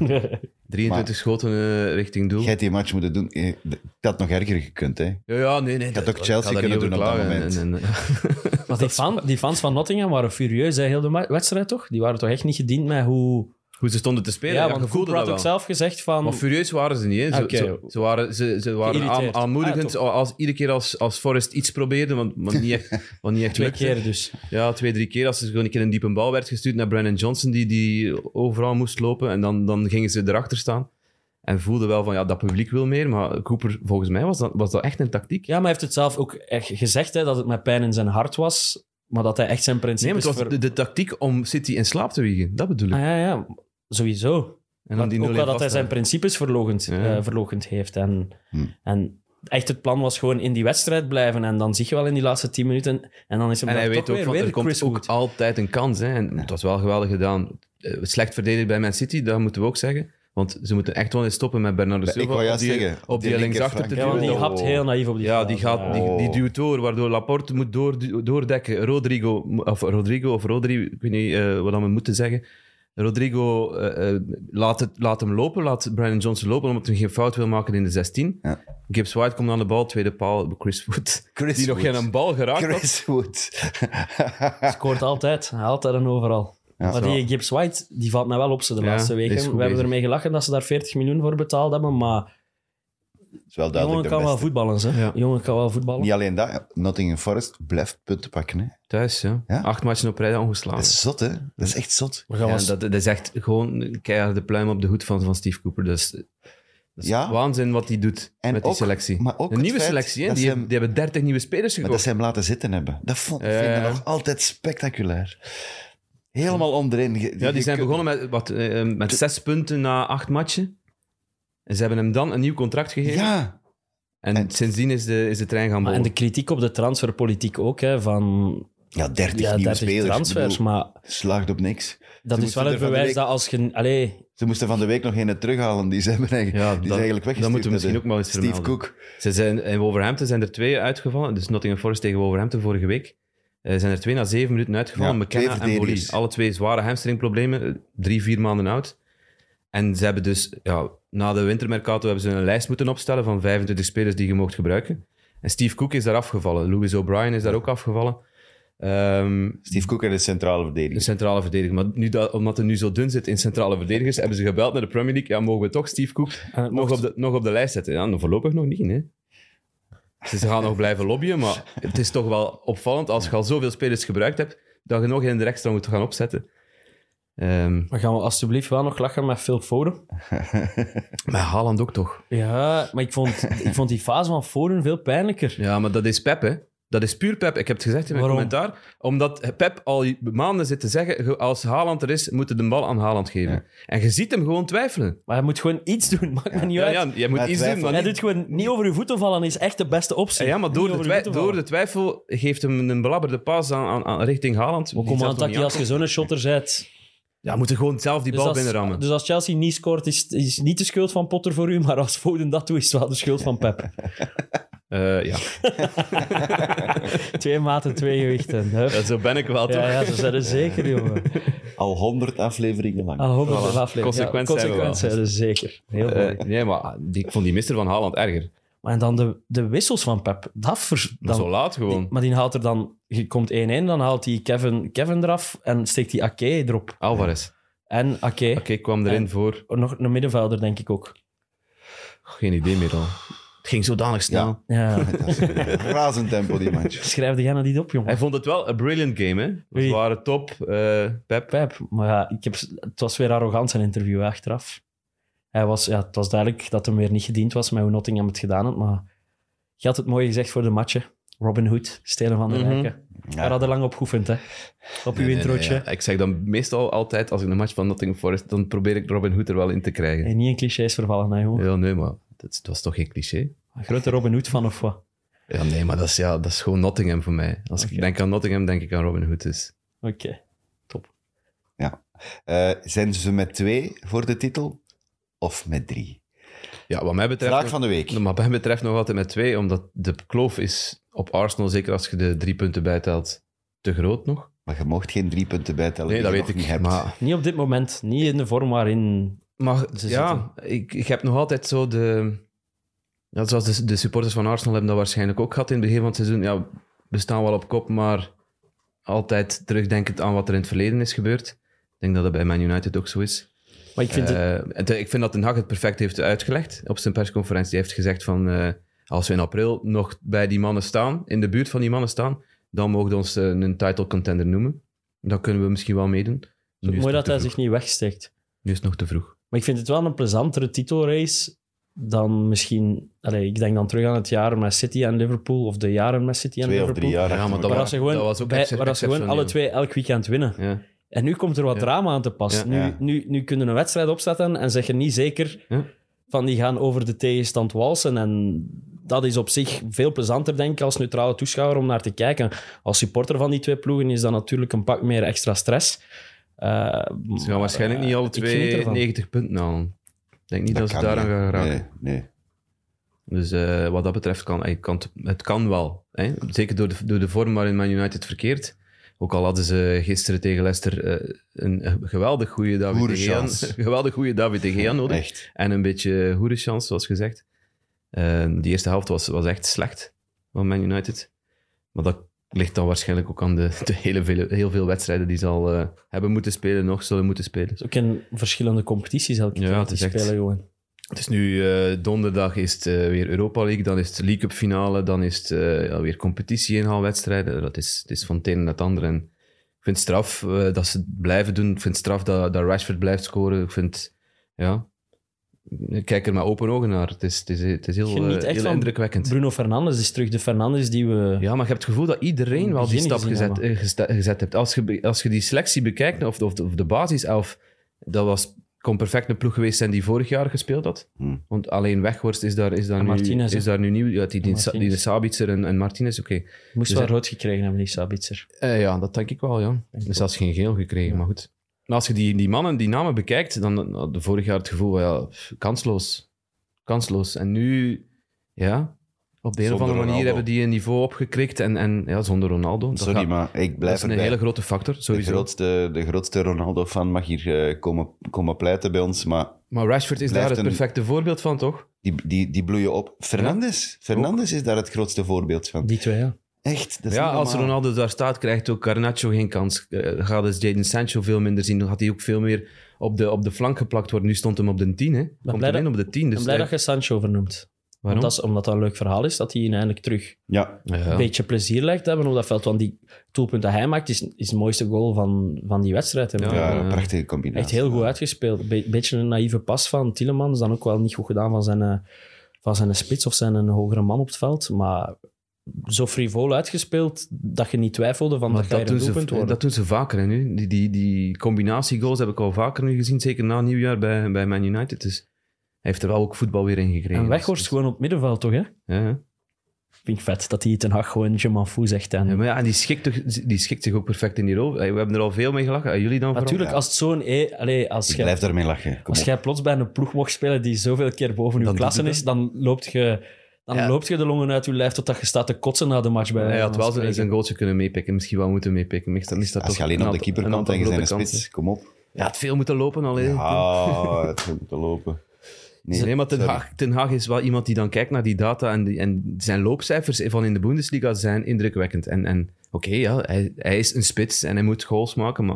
C: 23
B: Maar-
C: schoten eh, richting doel.
B: Jij had die match moeten doen. Eh, Dat had nog erger gekund. Hè.
C: Ja, ja, nee, nee.
B: had
C: dat-
B: ook
C: ik
B: Chelsea
C: ga daar
B: kunnen
C: niet
B: doen
C: over
B: op dat
C: klagen.
B: moment.
C: En- en- eh,
D: Want die, fan, die fans van Nottingham waren furieus, hè, heel de ma- wedstrijd toch? Die waren toch echt niet gediend met hoe...
C: hoe ze stonden te spelen.
D: ja,
C: Ja,
D: want
C: je
D: de
C: voelde
D: voetbal
C: dat
D: had
C: wel.
D: ook zelf gezegd van...
C: Maar furieus waren ze niet. hè. Ze,
D: Oké.
C: ze, ze waren, ze, ze waren aan,
D: Geïrriteerd. Ah,
C: aanmoedigend.
D: toch.
C: als, iedere keer als, als Forrest iets probeerde, want, want niet echt, want niet echt
D: Twee
C: lukte.
D: keer dus.
C: Ja, twee, drie keer. Als er gewoon een keer een diepe bal werd gestuurd naar Brandon Johnson, die, die overal moest lopen. En dan, dan gingen ze erachter staan. En voelden wel van, ja, dat publiek wil meer. Maar Cooper, volgens mij was dat, was dat echt een tactiek.
D: Ja, maar hij heeft het zelf ook echt gezegd hè, dat het met pijn in zijn hart was, maar dat hij echt zijn
C: Nee, maar
D: principes...
C: het was
D: ver-
C: de, de tactiek om City in slaap te wiegen. Dat bedoel ik.
D: dus Ah, ja, ja, sowieso.
C: en
D: Maar
C: dan die
D: ook
C: 0-1
D: wel dat hij zijn
C: vasthouden.
D: principes verlogend,
C: Ja.
D: eh, verlogend heeft. En,
B: Hm.
D: en echt het plan was gewoon in die wedstrijd blijven en dan zie je wel in die laatste tien minuten en dan is hem
C: En
D: daar
C: hij weet
D: toch
C: ook,
D: weer,
C: van,
D: weer
C: er komt
D: Chris
C: ook
D: Wood.
C: altijd een kans. Hè? En het was wel geweldig gedaan. Eh, Slecht verdedigd bij Man City, dat moeten we ook zeggen. Want ze moeten echt wel eens stoppen met Bernardo
B: Ik
C: Silva.
B: wou
C: op
B: juist
C: die,
B: zeggen,
C: op die,
B: die linker
C: linksachter te
B: flank.
D: Ja, want die
C: duwen.
B: Oh.
D: hapt heel naïef op die
C: Ja,
D: fase,
C: die, gaat, die, die
B: Oh.
C: duwt door, waardoor Laporte moet door, doordekken. Rodrigo, mo- of Rodrigo of Rodri, ik weet niet eh, wat we moeten zeggen. Rodrigo eh, eh, laat, het, laat hem lopen, laat Brian Johnson lopen, omdat hij geen fout wil maken in de 16.
B: Ja.
C: Gibbs White komt aan de bal, tweede paal, Chris Wood.
B: Chris
C: die nog
B: Wood.
C: geen bal geraakt had.
B: Chris Wood.
D: Scoort altijd, altijd en overal. maar
C: zo.
D: die Gibbs White, die valt mij wel op ze de
C: Ja,
D: laatste
C: die is
D: weken. We
C: goed
D: hebben
C: bezig.
D: ermee gelachen dat ze daar 40 miljoen voor betaald hebben, maar
B: Dat is wel
D: de jongen
B: duidelijk
D: kan
B: de
D: wel
B: beste.
D: voetballen. Hè?
C: Ja.
D: jongen kan wel voetballen.
B: Niet alleen dat, Nottingham Forest blijft punten pakken. Hè.
C: Thuis, ja.
B: Ja?
C: Acht matchen op rij ongeslagen.
B: Dat is zot, hè? Dat is echt zot.
D: We gaan
C: Ja,
D: wel-
C: dat, dat is echt gewoon keihard de pluim op de hoed van, van Steve Cooper. Dat is, dat is
B: Ja.
C: waanzin wat hij doet
B: En
C: met die
B: ook-
C: selectie.
B: maar ook
C: een
B: het
C: nieuwe
B: feit
C: selectie, hè?
B: dat
C: Die,
B: ze hem-
C: hebben- die hebben 30 nieuwe spelers
B: Maar dat
C: gekocht.
B: ze hem laten zitten hebben. Dat vond ik
C: Ja,
B: vind
C: ja, ja.
B: dat nog altijd spectaculair. Helemaal onderin. ge-
C: Ja, die zijn
B: ge-
C: begonnen met, wat, eh, eh, met zes punten na acht matchen. En ze hebben hem dan een nieuw contract gegeven.
B: Ja,
C: en,
B: en-
C: sindsdien is de, is de trein gaan
D: maar Ah, en
C: boven.
D: de kritiek op de transferpolitiek ook, hè, van
B: ja 30
D: ja,
B: nieuwe
D: 30
B: spelers.
D: transfers.
B: Ik bedoel,
D: Maar
B: Slaagt op niks.
D: dat is
B: moeten
D: wel het
B: er van de
D: bewijs
B: week-
D: dat als je... Allee,
B: Ze moesten van de week nog een terughalen. Die, ze hebben eigenlijk,
C: Ja,
B: die is
C: dat-
B: eigenlijk weggestuurd.
C: dat moeten we
B: door
C: misschien ook wel eens
B: Steve
C: vermelden.
B: Cook.
C: Ze zijn, in Wolverhampton zijn er twee uitgevallen. Dus Nottingham Forest tegen Wolverhampton vorige week. Eh zijn er twee na zeven minuten uitgevallen.
B: Ja,
C: McKenna
B: twee
C: en Boli.
B: verdedigers.
C: Alle twee zware hamstringproblemen. eh, Drie, vier maanden oud. En ze hebben dus... Ja, na de wintermercato hebben ze een lijst moeten opstellen van 25 spelers die je mocht gebruiken. En Steve Cook is daar afgevallen. Louis O'Brien is daar ook afgevallen. Ehm,
B: Steve Cook en de centrale
C: een
B: verdediging.
C: centrale verdediger. Maar nu dat, omdat het nu zo dun zit in centrale verdedigers, hebben ze gebeld naar de Premier League. Ja, mogen we toch Steve Cook
D: en het
C: nog
D: eh, mocht-
C: op, de, nog op de lijst zetten? Ja, nou, voorlopig nog niet, hè. Dus ze gaan nog blijven lobbyen, maar het is toch wel opvallend als je al zoveel spelers gebruikt hebt, dat je nog in de extra moet gaan opzetten. Ehm,
D: Maar gaan we alsjeblieft wel nog lachen met Phil Foden?
C: maar Haaland ook toch?
D: Ja, maar ik vond, ik vond die fase van Foden veel pijnlijker.
C: Ja, maar dat is Pep, hè. Dat is puur Pep. Ik heb het gezegd in mijn
D: Waarom?
C: commentaar. Omdat Pep al maanden zit te zeggen, ge- als Haaland er is, moeten de bal aan Haaland geven.
B: Ja.
C: En je ziet hem gewoon twijfelen.
D: Maar hij moet gewoon iets doen, maakt me niet
C: Ja,
D: uit.
C: ja, jij moet
B: Maar
C: iets doen,
B: twijfel.
C: maar
D: Hij
C: niet
D: doet gewoon niet over uw voeten vallen, is echt de beste optie.
C: Ja, maar door
D: Niet
C: de,
D: over uw
C: twij-
D: voeten
C: door
D: vallen.
C: de twijfel geeft hem een belabberde pas aan, aan, aan- richting Haaland.
D: Ook
C: Die
D: om
C: zal
D: aan
C: toch
D: dat
C: niet
D: je als
C: aan-
D: je zo'n shotter bent.
C: Ja, moet gewoon zelf die bal binnenrammen.
D: dus als Chelsea niet scoort, is, is niet de schuld van Potter voor u, maar als Foden dat doet, is het wel de schuld van Pep.
C: Eh, ja.
D: twee maten, twee gewichten. hè.
C: ja, zo ben ik wel, toch?
D: Ja, ja, ze zijn er zeker, jongen. Dus- Ah,
B: Al 100 afleveringen lang.
D: Al honderd voilà.
C: Consequent zijn we wel.
D: consequent zijn ze zeker. Heel mooi.
C: Eh, nee, maar die, ik vond die mister van Haaland erger.
D: Maar en dan de, de wissels van Pep, dat vers,
C: Dan,
D: dan,
C: zo laat gewoon.
D: Die- maar die haalt er dan... Je komt 1-1, dan haalt hij Kevin, Kevin eraf en steekt hij Ake erop.
C: Alvarez.
D: En Ake,
C: Oké, ik kwam erin
D: En-
C: voor...
D: nog een middenvelder, denk ik ook.
C: Geen idee meer al. Het ging zodanig snel.
B: Ja.
D: Ja.
B: Dat is een razend tempo, die match.
D: Schrijf jij nou niet op, jongen.
C: Hij vond het wel een brilliant game, hè?
D: Wie?
C: We waren top. eh, Pep.
D: Pep, maar ja, ik heb, het was weer arrogant zijn interview hè, achteraf. Hij was, ja, het was duidelijk dat hem weer niet gediend was met hoe Nottingham het gedaan had, maar je had het mooi gezegd voor de matchen. Robin Hood, stelen van de
C: Mhm.
D: rijken. Daar hadden lang op geoefend, hè. Op uw
C: Nee, nee,
D: introotje.
C: nee, ja. Ik zeg dan meestal altijd, als ik een match van Nottingham Forest, dan probeer ik Robin Hood er wel in te krijgen.
D: En niet in clichés vervallen, hè, jongen.
C: Ja, nee, maar dat was toch geen cliché?
D: Een Grote Robin Hood van of wat?
C: Ja, nee, maar dat is, ja, dat is gewoon Nottingham voor mij. Als
D: Oké.
C: ik denk aan Nottingham, denk ik aan Robin Hood. Dus.
D: Oké.
B: Eh, zijn ze met twee voor de titel of met drie?
C: Ja, wat mij betreft...
B: Vraag van de week.
C: Maar wat mij betreft nog altijd met twee, omdat de kloof is op Arsenal, zeker als je de drie punten bijtelt, te groot nog.
B: Maar je mocht geen drie punten bijtellen.
C: Nee,
B: die
C: dat
B: je
C: weet
B: nog
C: ik.
B: niet. Hebt.
C: Maar,
D: Niet op dit moment. Niet in de vorm waarin...
C: maar
D: Ze
C: ja, ik, ik heb nog altijd zo de... Ja, zoals de, de supporters van Arsenal hebben dat waarschijnlijk ook gehad in het begin van het seizoen. Ja, we staan wel op kop, maar altijd terugdenkend aan wat er in het verleden is gebeurd. Ik denk dat dat bij Man United ook zo is.
D: Maar ik vind het...
C: Eh, en te- ik vind dat Den Haag het perfect heeft uitgelegd op zijn persconferentie. Hij heeft gezegd van, eh, als we in april nog bij die mannen staan, in de buurt van die mannen staan, dan mogen we ons eh, een title contender noemen. Dan kunnen we misschien wel meedoen. Nu is
D: mooi
C: het nog
D: dat
C: te
D: hij
C: vroeg.
D: zich niet wegsteekt.
C: Nu is het nog te vroeg.
D: Maar ik vind het wel een plezantere titelrace dan misschien... Allee, ik denk dan terug aan het jaar met City en Liverpool, of de jaren met City en
B: Twee of
D: Liverpool.
B: drie jaar.
C: Ja,
B: achter
C: maar dat
D: Waar
B: elkaar.
D: dat ze gewoon,
C: dat was ook
D: bij-
C: excep-
D: waar dat ze gewoon alle twee elk weekend winnen.
C: Ja.
D: En nu komt er wat
C: Ja.
D: drama aan te pas.
C: Ja.
D: Nu,
B: Ja.
D: Nu, nu kunnen we een wedstrijd opzetten en zeg je niet zeker
C: Ja.
D: van die gaan over de tegenstand walsen. En dat is op zich veel plezanter, denk ik, als neutrale toeschouwer om naar te kijken. Als supporter van die twee ploegen is dat natuurlijk een pak meer extra stress. Eh,
C: Ze gaan waarschijnlijk
D: eh,
C: niet alle
D: ik geniet
C: twee
D: ervan.
C: 90 punten halen. Ik denk niet dat, ze
B: kan
C: daaraan
B: niet.
C: gaan geraken.
B: Nee, nee.
C: Dus eh, wat dat betreft kan, eh, kan het, het kan wel. Hè? Zeker door de, door de vorm waarin Man United verkeert. Ook al hadden ze gisteren tegen Leicester eh, een geweldig goede David de Gea,
B: Hoerenchance.
C: geweldig goede David de Gea nodig.
B: Echt.
C: En een beetje hoerenchance, zoals gezegd. Eh, die eerste helft was, was echt slecht van Man United. Maar dat ligt dan waarschijnlijk ook aan de, de hele vele, heel veel wedstrijden die ze al eh, hebben moeten spelen, nog zullen moeten spelen.
D: Het is ook in verschillende competities elke
C: Ja,
D: keer
C: het
D: die
C: is echt-
D: spelen gewoon.
C: Het is nu eh, donderdag is het eh, weer Europa League, dan is het League Cup finale, dan is het eh, ja, weer competitie inhaalwedstrijden. Dat is, het is van het een naar het ander. En ik vind het straf eh, dat ze het blijven doen. Ik vind het straf dat, dat Rashford blijft scoren. Ik vind, ja, ik kijk er maar open ogen naar. Het is, het is, het is heel,
D: Geniet
C: eh,
D: echt
C: heel
D: van
C: indrukwekkend.
D: Bruno Fernandes is terug de Fernandes die we...
C: Ja, maar je hebt het gevoel dat
D: In
C: iedereen
D: het
C: wel die
D: begin
C: stap
D: gezien
C: gezet,
D: hebben.
C: eh, gesta- gezet hebt. Als je, be- als je die selectie bekijkt, of de, of de, of de basiself, dat was, kon perfect een ploeg geweest zijn die vorig jaar gespeeld had.
B: Hmm.
C: Want alleen Weghorst is daar, is daar,
D: En
C: nu,
D: Martinez, hè?
C: is daar nu nieuw. Ja, die, die,
D: Martinez.
C: die de Sabitzer en, en Martinez, oké.
D: Moest
C: Dus
D: wel
C: hij-
D: rood gekregen hebben, die Sabitzer.
C: Eh, ja, dat denk ik wel, ja.
D: ik
C: Dus zelfs geen geel gekregen, maar goed. Maar als je die, die mannen, die namen bekijkt, dan had je vorig jaar het gevoel van ja, pff, kansloos. Kansloos. En nu, ja, op de een of
B: Zonder
C: andere manier
B: Ronaldo.
C: hebben die een niveau opgekrikt. En, en ja, zonder Ronaldo. Dat
B: Sorry,
C: gaat-
B: maar ik
C: dat
B: blijf
C: is een
B: erbij.
C: hele grote factor,
B: de
C: sowieso.
B: grootste, de grootste Ronaldo-fan mag hier eh, komen, komen pleiten bij ons, maar
C: Maar Rashford is daar
B: Blijft
C: het
B: een-
C: perfecte voorbeeld van, toch?
B: die, die, die bloeien op. Fernandes. Fernandes is daar het grootste voorbeeld van.
D: Die
C: Dus
D: twee, ja.
B: Echt, dat is
C: Ja,
B: niet
C: als
B: normaal.
C: Ronaldo daar staat, krijgt ook Garnacho geen kans. Eh, Gaat dus Jadon Sancho veel minder zien. Dan gaat hij ook veel meer op de, op de flank geplakt worden. Nu stond hem op de 10, hè? Komt
D: blij
C: alleen op de 10.
D: Ik
C: Dus
D: ben blij dat
C: eigenlijk-
D: je Sancho vernoemt. Want
C: waarom?
D: dat is, omdat dat een leuk verhaal is, dat hij hier eindelijk terug
B: Ja,
C: Ja.
D: een beetje plezier lijkt te hebben op dat veld. Want die doelpunt dat hij maakt is, is het mooiste goal van, van die wedstrijd. hè.
C: Ja, eh,
B: ja,
C: ja.
B: een prachtige combinatie.
D: Echt heel goed uitgespeeld. Een beetje een naïeve pas van Tielemans. Dan ook wel niet goed gedaan van zijn, eh, van zijn spits of zijn een hogere man op het veld. Maar zo frivol uitgespeeld dat je niet twijfelde van dat
C: Maar
D: ga je
C: dat,
D: een
C: doen
D: doelpunt
C: ze,
D: worden.
C: dat doen ze vaker hè, nu. Die, die, die combinatiegoals heb ik al vaker nu gezien, zeker na nieuwjaar bij, bij Man United. Dus hij heeft er wel ook voetbal weer in gekregen.
D: en Weghorst
C: Dus-
D: gewoon op het middenveld, toch? Hè?
C: Ja, ja.
D: Vind ik vet dat hij ten Hag gewoon je m'en fout zegt. En...
C: Ja, maar ja, en die schikt, toch- die schikt zich ook perfect in die rol. Hey, We hebben er al veel mee gelachen. Hey, Jullie dan vooral?
D: Natuurlijk,
B: ja.
D: als het zo'n... eh, allee, als
B: Ik
D: jij-
B: blijf daarmee lachen. Kom
D: Als
B: op.
D: jij plots bij een ploeg mocht spelen die zoveel keer boven je
C: Dan
D: klasse
C: doet
D: is, dan loopt je dan
C: Ja.
D: loopt je de longen uit je lijf totdat je staat te kotsen na de match. Bij
C: Hij
D: wijze
C: had
D: van
C: wel zijn,
D: spreken.
C: zijn goaltje kunnen meepikken. Misschien wel moeten meepikken. Meestal is dat
B: Als je
C: toch
B: alleen
C: een
B: op de
C: aantal-
B: keeper
C: een
B: komt
C: aantal
B: en je zijn een
C: grote kansen.
B: spits, kom op.
C: Ja, het veel moeten lopen alleen.
B: Ah, het moet lopen.
C: Nee, maar Ten
B: sorry.
C: Haag, Ten Hag is wel iemand die dan kijkt naar die data en, die- en zijn loopcijfers van in de Bundesliga zijn indrukwekkend. En, en oké, ja, hij, hij is een spits en hij moet goals maken, maar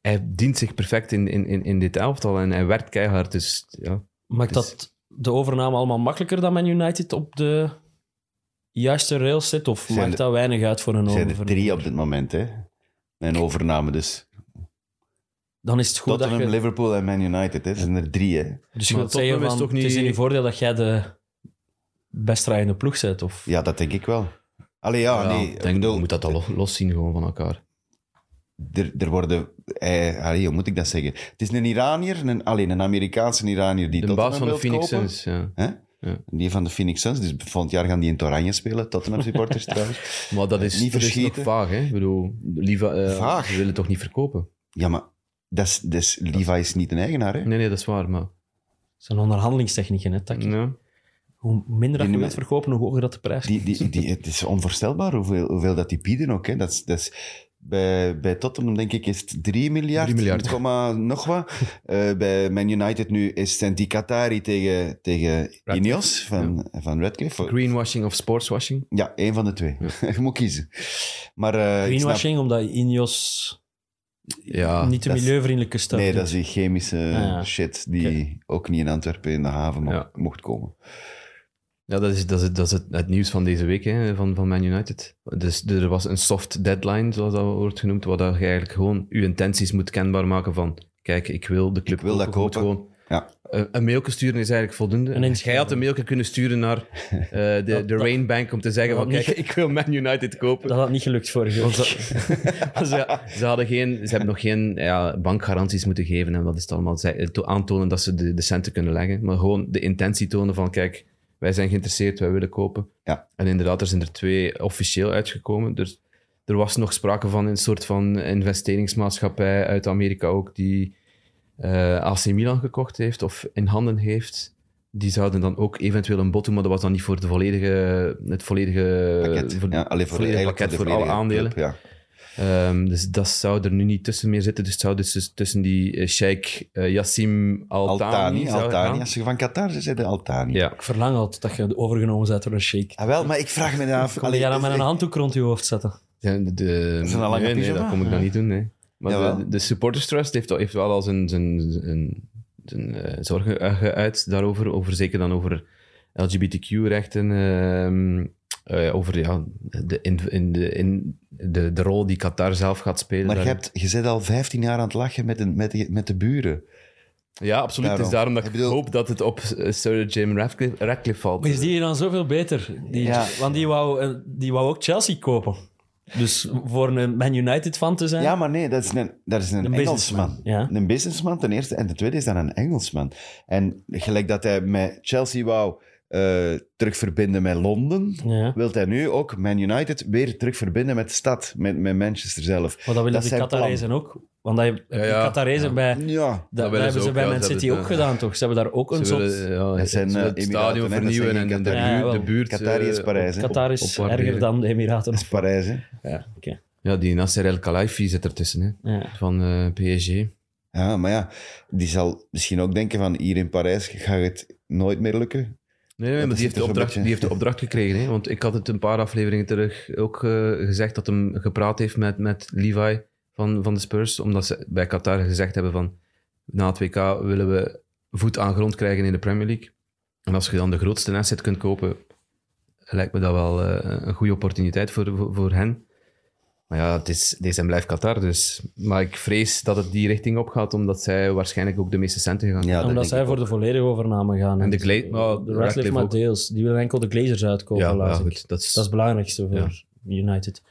C: hij dient zich perfect in, in, in, in dit elftal en hij werkt keihard. Dus ja,
D: Maakt
C: Dus-
D: dat de overname allemaal makkelijker dan Man United op de juiste rails zit? Of
B: Zijn
D: maakt
B: er-
D: dat weinig uit voor een
B: Er zijn er
D: overname?
B: drie op dit moment, hè. Mijn overname dus.
D: Dan is het goed dat
B: Tottenham,
D: je...
B: Liverpool en Man United, hè. Er zijn er drie, hè.
D: Dus je
C: Maar
D: wilt zeggen
C: Tottenham
D: van,
C: is toch
D: het is
C: niet-
D: in je voordeel dat jij de best rijdende ploeg bent? Of...
B: Ja, dat denk ik wel. Allee, ja,
C: ja,
B: Ah, nee.
C: ik
B: ik
C: denk,
B: bedoel,
C: je moet dat al los- loszien gewoon van elkaar.
B: er, er worden... Eh, allee, hoe moet ik dat zeggen? Het is een Iranier, een, alleen een Amerikaanse Iranier die
C: De baas
B: Tottenham
C: van de
B: wil
C: Phoenix
B: kopen.
C: Suns, ja.
B: Hè?
C: Ja.
B: Die van de Phoenix Suns. Dus volgend jaar gaan die in het oranje spelen. Tottenham supporters trouwens.
C: Maar dat is,
B: Niet
C: dat is nog
B: verschieten.
C: vaag, hè? Ik bedoel, Liva, eh,
B: Vaag?
C: Ze willen toch niet verkopen?
B: Ja, maar dat is, dat is, Levi is niet een eigenaar, hè?
C: Nee, nee, dat is waar, maar...
D: Dat zijn onderhandelingstechnieken, hè, Taki?
C: Ja.
D: Hoe minder dat
B: Die
D: je
B: nu-
D: wilt verkopen, hoe hoger dat de prijs
B: Die, die, die, het is onvoorstelbaar hoeveel, hoeveel dat die bieden ook. Hè. Dat is, dat is, bij, bij Tottenham, denk ik, is het 3 miljard,
C: 3 miljard.
B: Comma, nog wat. Eh, bij Man United nu is het die Qatari tegen, tegen Ineos van, van Redcliffe.
C: Greenwashing of sportswashing?
B: Ja, één van de twee. Je moet kiezen. Maar eh, ik snap-
D: Greenwashing, omdat Ineos
C: Ja,
D: niet de
B: dat is-
D: milieuvriendelijke stuff
B: Nee,
D: doet.
B: dat is die chemische
D: ja.
B: shit die ook niet in Antwerpen in de haven mo-
C: Ja. Eh,
B: mocht komen.
C: Ja, dat is, dat is, dat is het, het nieuws van deze week hè, van, van Man United. Dus er was een soft deadline, zoals dat wordt genoemd, waar dat je eigenlijk gewoon je intenties moet kenbaar maken van kijk, ik wil de club
B: Ik wil dat
C: Je moet
B: kopen.
C: Gewoon, Eh,
B: Ja.
C: een, een mailje sturen is eigenlijk voldoende.
D: Een inschrijving.
C: Jij had een mailje kunnen sturen naar eh, de,
D: Dat-
C: de
D: dat-
C: Rainbank om te zeggen
D: dat
C: van
D: had
C: kijk,
D: niet
C: ik wil Man United kopen.
D: Dat had niet gelukt vorige
C: Want
D: week.
B: eh,
C: ze, want ze, ze hadden geen, ze hebben nog geen ja, bankgaranties moeten geven en wat is het allemaal. Zij, eh, to- aantonen dat ze de, de centen kunnen leggen. Maar gewoon de intentie tonen van, kijk, wij zijn geïnteresseerd, wij willen kopen.
B: Ja.
C: En inderdaad, er zijn er twee officieel uitgekomen. Dus er was nog sprake van een soort van investeringsmaatschappij uit Amerika ook, die eh, AC Milan gekocht heeft of in handen heeft. Die zouden dan ook eventueel een bod doen, maar dat was dan niet voor de volledige, het volledige
B: Pakket.
C: voor-
B: ja, alleen voor,
C: volledige
B: eigenlijk
C: pakket voor alle
B: volledige
C: aandelen.
B: club, ja.
C: Ehm, dus dat zou er nu niet tussen meer zitten. Dus het zou dus dus tussen die eh, Sheikh eh, Yassim Altani,
B: Altani,
C: zou
B: Altani.
C: gaan.
B: Als ze van Qatar zijn, zijn de Altani.
C: Ja.
D: Ik verlang altijd dat je overgenomen bent door een shake.
B: Ah, wel, maar ik vraag me af...
D: Kom
B: allee,
D: jij dan met een
B: ik-
D: handdoek rond je hoofd zetten?
C: De, de, de-
B: is een lange
C: nee, nee,
B: pyjama.
C: dat kom ik nog niet doen. Nee. Maar
B: Jawel.
C: de, de Supporters Trust heeft, al- heeft wel al zijn, zijn, zijn, zijn, eh, zorgen eh, geuit daarover. Over, zeker dan over LGBTQ-rechten. ehm, eh, over ja, de, in, in, de, in, de, de rol die Qatar zelf gaat spelen.
B: Maar je,
C: daarin.
B: hebt, je bent al 15 jaar aan het lachen met, een, met, de, met de buren.
C: Ja, absoluut. Het is
B: Daarom.
C: daarom dat ik,
B: Ik bedoel-
C: hoop dat het op eh, Sir Jim Ratcliffe, Ratcliffe valt.
D: Maar is die dan zoveel beter? Die,
B: Ja.
D: Want die wou, eh, die wou ook Chelsea kopen. Dus voor een Man United fan te zijn.
B: Ja, maar nee, dat is een, dat is een,
D: Een
B: Engelsman.
D: businessman,
B: Een businessman ten eerste. En ten tweede is dat een Engelsman. En gelijk dat hij met Chelsea wou eh terugverbinden met Londen,
D: Ja.
B: wil hij nu ook Man United weer terugverbinden met de stad, met, met Manchester zelf.
D: Maar dat willen
B: Dat
D: de
B: zijn
D: Qatarezen ook. Want dat,
C: Ja, ja.
D: de Qatarezen
C: Ja.
D: bij...
B: Ja.
D: Dat,
C: willen
D: hebben
C: ze
D: ze
C: ook,
D: bij
C: ja,
D: Man
C: ze
D: City
C: hebben
D: ook
C: het,
D: gedaan, toch? Ze hebben daar ook een
C: Ze
D: soort...
C: willen, ja,
B: Dat zijn,
C: ze willen
B: eh,
C: het
B: Emiraten,
C: stadion
B: hè, dat
C: vernieuwen
B: zijn
C: en de,
B: Qatari-
D: Ja,
C: buurt, de
D: wel.
C: buurt.
B: Qatari is
C: eh,
B: Parijs, hè.
D: Qatar
C: op-
D: is
C: opwaarderen.
D: erger dan de Emiraten.
B: Dat is Parijs, hè.
D: Ja, oké.
C: Ja, die Nasser El Khalifi zit ertussen, hè,
D: Ja.
C: van eh, PSG.
B: Ja, maar ja, die zal misschien ook denken van hier in Parijs gaat het nooit meer lukken.
C: Nee, nee,
B: dat
C: maar die
B: zit
C: heeft,
B: er
C: de
B: zo'n
C: opdracht,
B: beetje-
C: die heeft de opdracht gekregen. Hè? Want ik had het een paar afleveringen terug ook eh, gezegd dat hem gepraat heeft met, met Levi van, van de Spurs. Omdat ze bij Qatar gezegd hebben van na het WK willen we voet aan grond krijgen in de Premier League. En als je dan de grootste asset kunt kopen, lijkt me dat wel eh, een goede opportuniteit voor, voor, voor hen. Maar ja, het is, deze blijft Qatar dus. Maar ik vrees dat het die richting op gaat, omdat zij waarschijnlijk ook de meeste centen gaan
B: Ja, dat denk
D: Omdat
B: ik
D: zij
B: ook.
D: voor de volledige overname gaan.
C: En de Gla-
D: Dus, eh,
C: maar
D: de
C: Radcliffe
D: Radcliffe maar
C: ook.
D: deels. Die willen enkel de Glazers uitkopen,
C: ja,
D: laat
C: ja,
D: ik.
C: goed. Dat is,
D: Dat is het belangrijkste voor United.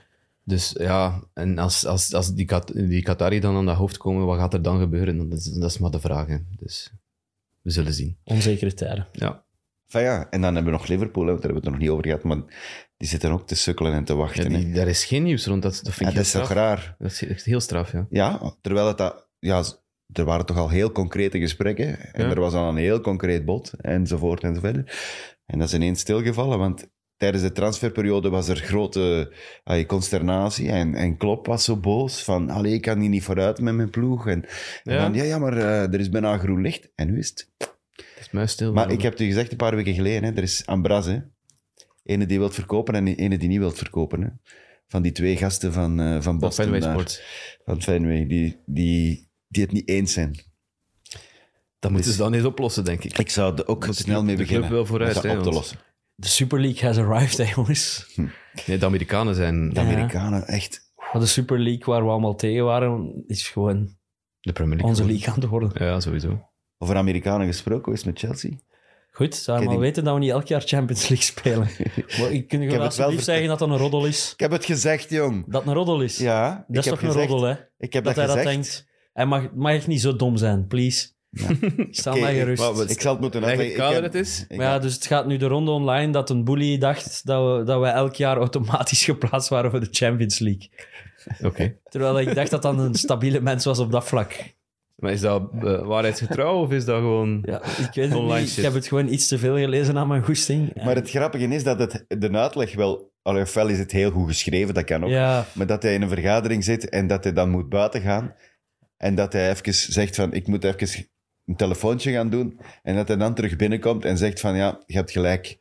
C: Dus ja, en als, als, als die, Kat, die Qatari dan aan dat hoofd komen, wat gaat er dan gebeuren? Dat is, dat is maar de vraag. hè. Dus we zullen zien.
D: Onzekere tijden.
C: Ja,
B: Enfin ja, en dan hebben we nog Liverpool, hè, want daar hebben we het nog niet over gehad, maar die zitten ook te sukkelen en te wachten.
C: ja
B: Ja,
C: die, daar is geen nieuws rond. Dat, dat vind
B: ja, dat
C: ik heel
B: is toch
C: straf.
B: raar?
C: Dat is echt heel straf, ja.
B: Ja, terwijl het dat... Ja, z- er waren toch al heel concrete gesprekken. En
C: Ja.
B: er was al een heel concreet bod, enzovoort enzoverder. En dat is ineens stilgevallen, want tijdens de transferperiode was er grote ah, consternatie. En, en Klopp was zo boos van, allee, ik kan hier niet vooruit met mijn ploeg. En, en
C: Ja.
B: dan, ja, ja, maar eh, er is bijna groen licht. En nu is het...
C: Het is muisstil.
B: Maar ik heb het u gezegd een paar weken geleden, hè, er is Ambras, hè. Ene die wilt verkopen en ene die niet wilt verkopen, hè. Van die twee gasten van, eh, van
C: dat
B: Boston
C: Fenway
B: daar
C: Sports.
B: van Fenway, die, die, die het niet eens zijn.
C: Dat Ah, moeten ze dan eens oplossen, denk ik.
B: dus- Ik zou er ook
C: Moet de
B: snel
C: club-
B: mee
C: de club
B: beginnen
C: wel vooruit,
B: om dat
C: hè,
B: op te
C: want-
B: lossen.
D: De Super League has arrived, hè, jongens.
C: Nee, de Amerikanen zijn...
B: De Amerikanen, echt.
D: Maar de Super League waar we allemaal tegen waren, is gewoon
C: De Premier League.
D: onze
C: geworden.
D: league aan het worden.
C: Ja, sowieso.
B: Over Amerikanen gesproken, hoe is het met Chelsea?
D: Goed, zou je maar
B: Kidding.
D: weten dat we niet elk jaar Champions League spelen. Maar ik kun je
B: het wel
D: gewoon alsjeblieft
B: verteld.
D: zeggen dat dat een roddel is.
B: Ik heb het gezegd, jong.
D: Dat een roddel is.
B: Ja,
D: dat
B: ik
D: is
B: heb
D: toch een
B: gezegd-
D: roddel, hè?
B: Ik heb
D: dat
B: dat,
D: hij dat
B: gezegd.
D: denkt. Hij mag, mag echt niet zo dom zijn, please. Sta
B: Oké,
D: mij
B: ik-
D: gerust.
C: wou-
B: Ik zal het moeten
C: Eigen
B: uitleggen. Ik
C: kader
B: heb-
C: het is.
B: ik
D: maar ja,
B: heb-
D: dus het gaat nu de ronde online dat een bully dacht dat we, dat we elk jaar automatisch geplaatst waren voor de Champions League.
C: Oké.
D: Terwijl ik dacht dat dat een stabiele mens was op dat vlak.
C: Maar is dat eh, waarheidsgetrouw of is dat gewoon...
D: Ja, ik weet het
C: Online
D: niet.
C: shit.
D: Ik heb het gewoon iets te veel gelezen aan mijn goesting. En-
B: Maar het grappige is dat het, de uitleg wel... Allee, ofwel is het heel goed geschreven, dat kan ook.
D: ja,
B: Maar dat hij in een vergadering zit en dat hij dan moet buiten gaan. En dat hij even zegt van, ik moet even een telefoontje gaan doen. En dat hij dan terug binnenkomt en zegt van, ja, je hebt gelijk.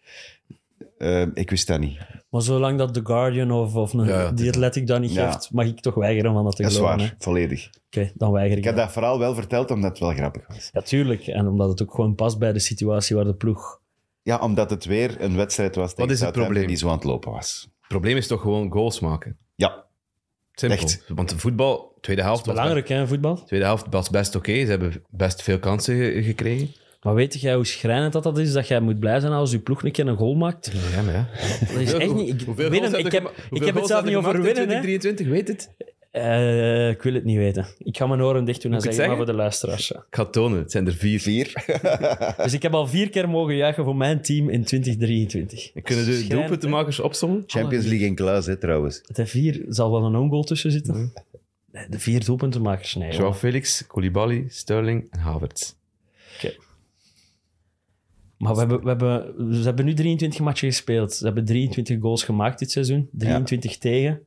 B: Eh, ik wist dat niet.
D: maar zolang dat The Guardian of, of een,
C: Ja, ja,
D: die Athletic dat niet
B: Ja.
D: geeft, mag ik toch weigeren van dat te
B: Dat is
D: geloven. hè.
B: waar,
D: Oké,
B: volledig.
D: dan weiger ik.
B: Ik heb
D: dat.
B: dat verhaal wel verteld omdat het wel grappig was.
D: Ja, tuurlijk. En omdat het ook gewoon past bij de situatie waar de ploeg...
B: Ja, omdat het weer een wedstrijd was tegen
C: is het
B: Southampton
C: probleem?
B: die zo aan het lopen was.
C: Het probleem is toch gewoon goals maken.
B: Ja,
C: Simpel.
B: Echt.
C: Want voetbal, tweede helft... was
D: Belangrijk, hè, voetbal.
C: tweede helft was best oké. Ze hebben best veel kansen ge- gekregen.
D: Maar weet jij hoe schrijnend dat, dat is? Dat jij moet blij zijn als je ploeg een keer een goal maakt?
C: Ja, maar ja.
D: Dat is echt niet... Ik,
C: Hoeveel
D: winnen,
C: goals
D: ik,
C: heb
D: heb,
C: je gema-
D: ik
C: hoeveel
D: heb het
C: goals
D: zelf
C: heb
D: niet
C: je
D: over
C: gemaakt in
D: winnen, hè.
C: 2023, weet het.
D: Eh, ik wil het niet weten. Ik ga mijn oren dicht doen en
C: Moet ik zeggen?
D: zeggen, maar voor de luisteraars. ja.
C: Ik ga het tonen. Het zijn er vier.
B: vier.
D: Dus ik heb al vier keer mogen juichen voor mijn team in 2023.
C: Kunnen de
D: Schrijnend,
C: doelpuntenmakers opzommen?
B: Champions League in Klaas, hè, trouwens.
D: hè. De vier zal wel een own-goal tussen zitten. Nee, De vier doelpuntenmakers, nee.
C: Joao
D: joh.
C: Felix, Koulibaly, Sterling en Havertz.
D: Maar we hebben, we, hebben, ze hebben nu 23 matchen gespeeld. Ze hebben 23 goals gemaakt dit seizoen. 23 tegen.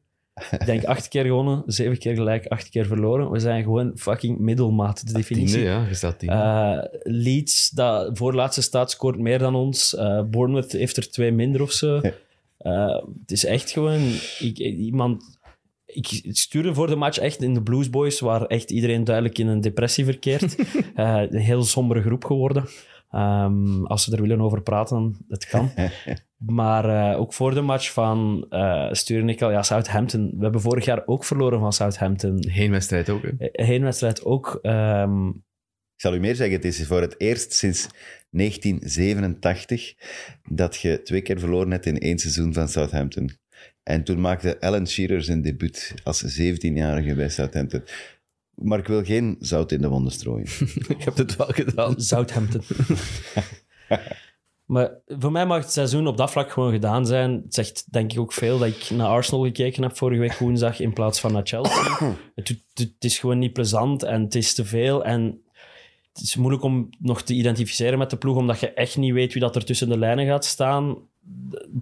D: Ik denk acht keer gewonnen, zeven keer gelijk, acht keer verloren. We zijn gewoon fucking middelmaat, de definitie.
C: Tiende, ja, je staat tiende.
D: Eh, Leeds, dat voorlaatste staat, scoort meer dan ons. Eh, Bournemouth heeft er twee minder of zo. Eh, het is echt gewoon... Ik, iemand, ik stuurde voor de match echt in de Blues Boys, waar echt iedereen duidelijk in een depressie verkeert. Eh, een heel sombere groep geworden. Ehm, als ze er willen over praten, het kan. Maar eh, ook voor de match van eh stuurde ik al, ja, Southampton. We hebben vorig jaar ook verloren van Southampton. Eh,
C: Geen wedstrijd ook, hè.
D: Heenwedstrijd ook. ehm,
B: Ik zal u meer zeggen, het is voor het eerst sinds 1987 dat je twee keer verloren hebt in één seizoen van Southampton. En toen maakte Alan Shearer zijn debuut als 17-jarige bij Southampton. Maar ik wil geen zout in de wonden strooien.
C: Ik heb het wel gedaan.
D: Southampton. maar voor mij mag het seizoen op dat vlak gewoon gedaan zijn. Het zegt denk ik ook veel dat ik naar Arsenal gekeken heb vorige week woensdag in plaats van naar Chelsea. het, doet- het is gewoon niet plezant en het is te veel. En het is moeilijk om nog te identificeren met de ploeg, omdat je echt niet weet wie dat er tussen de lijnen gaat staan.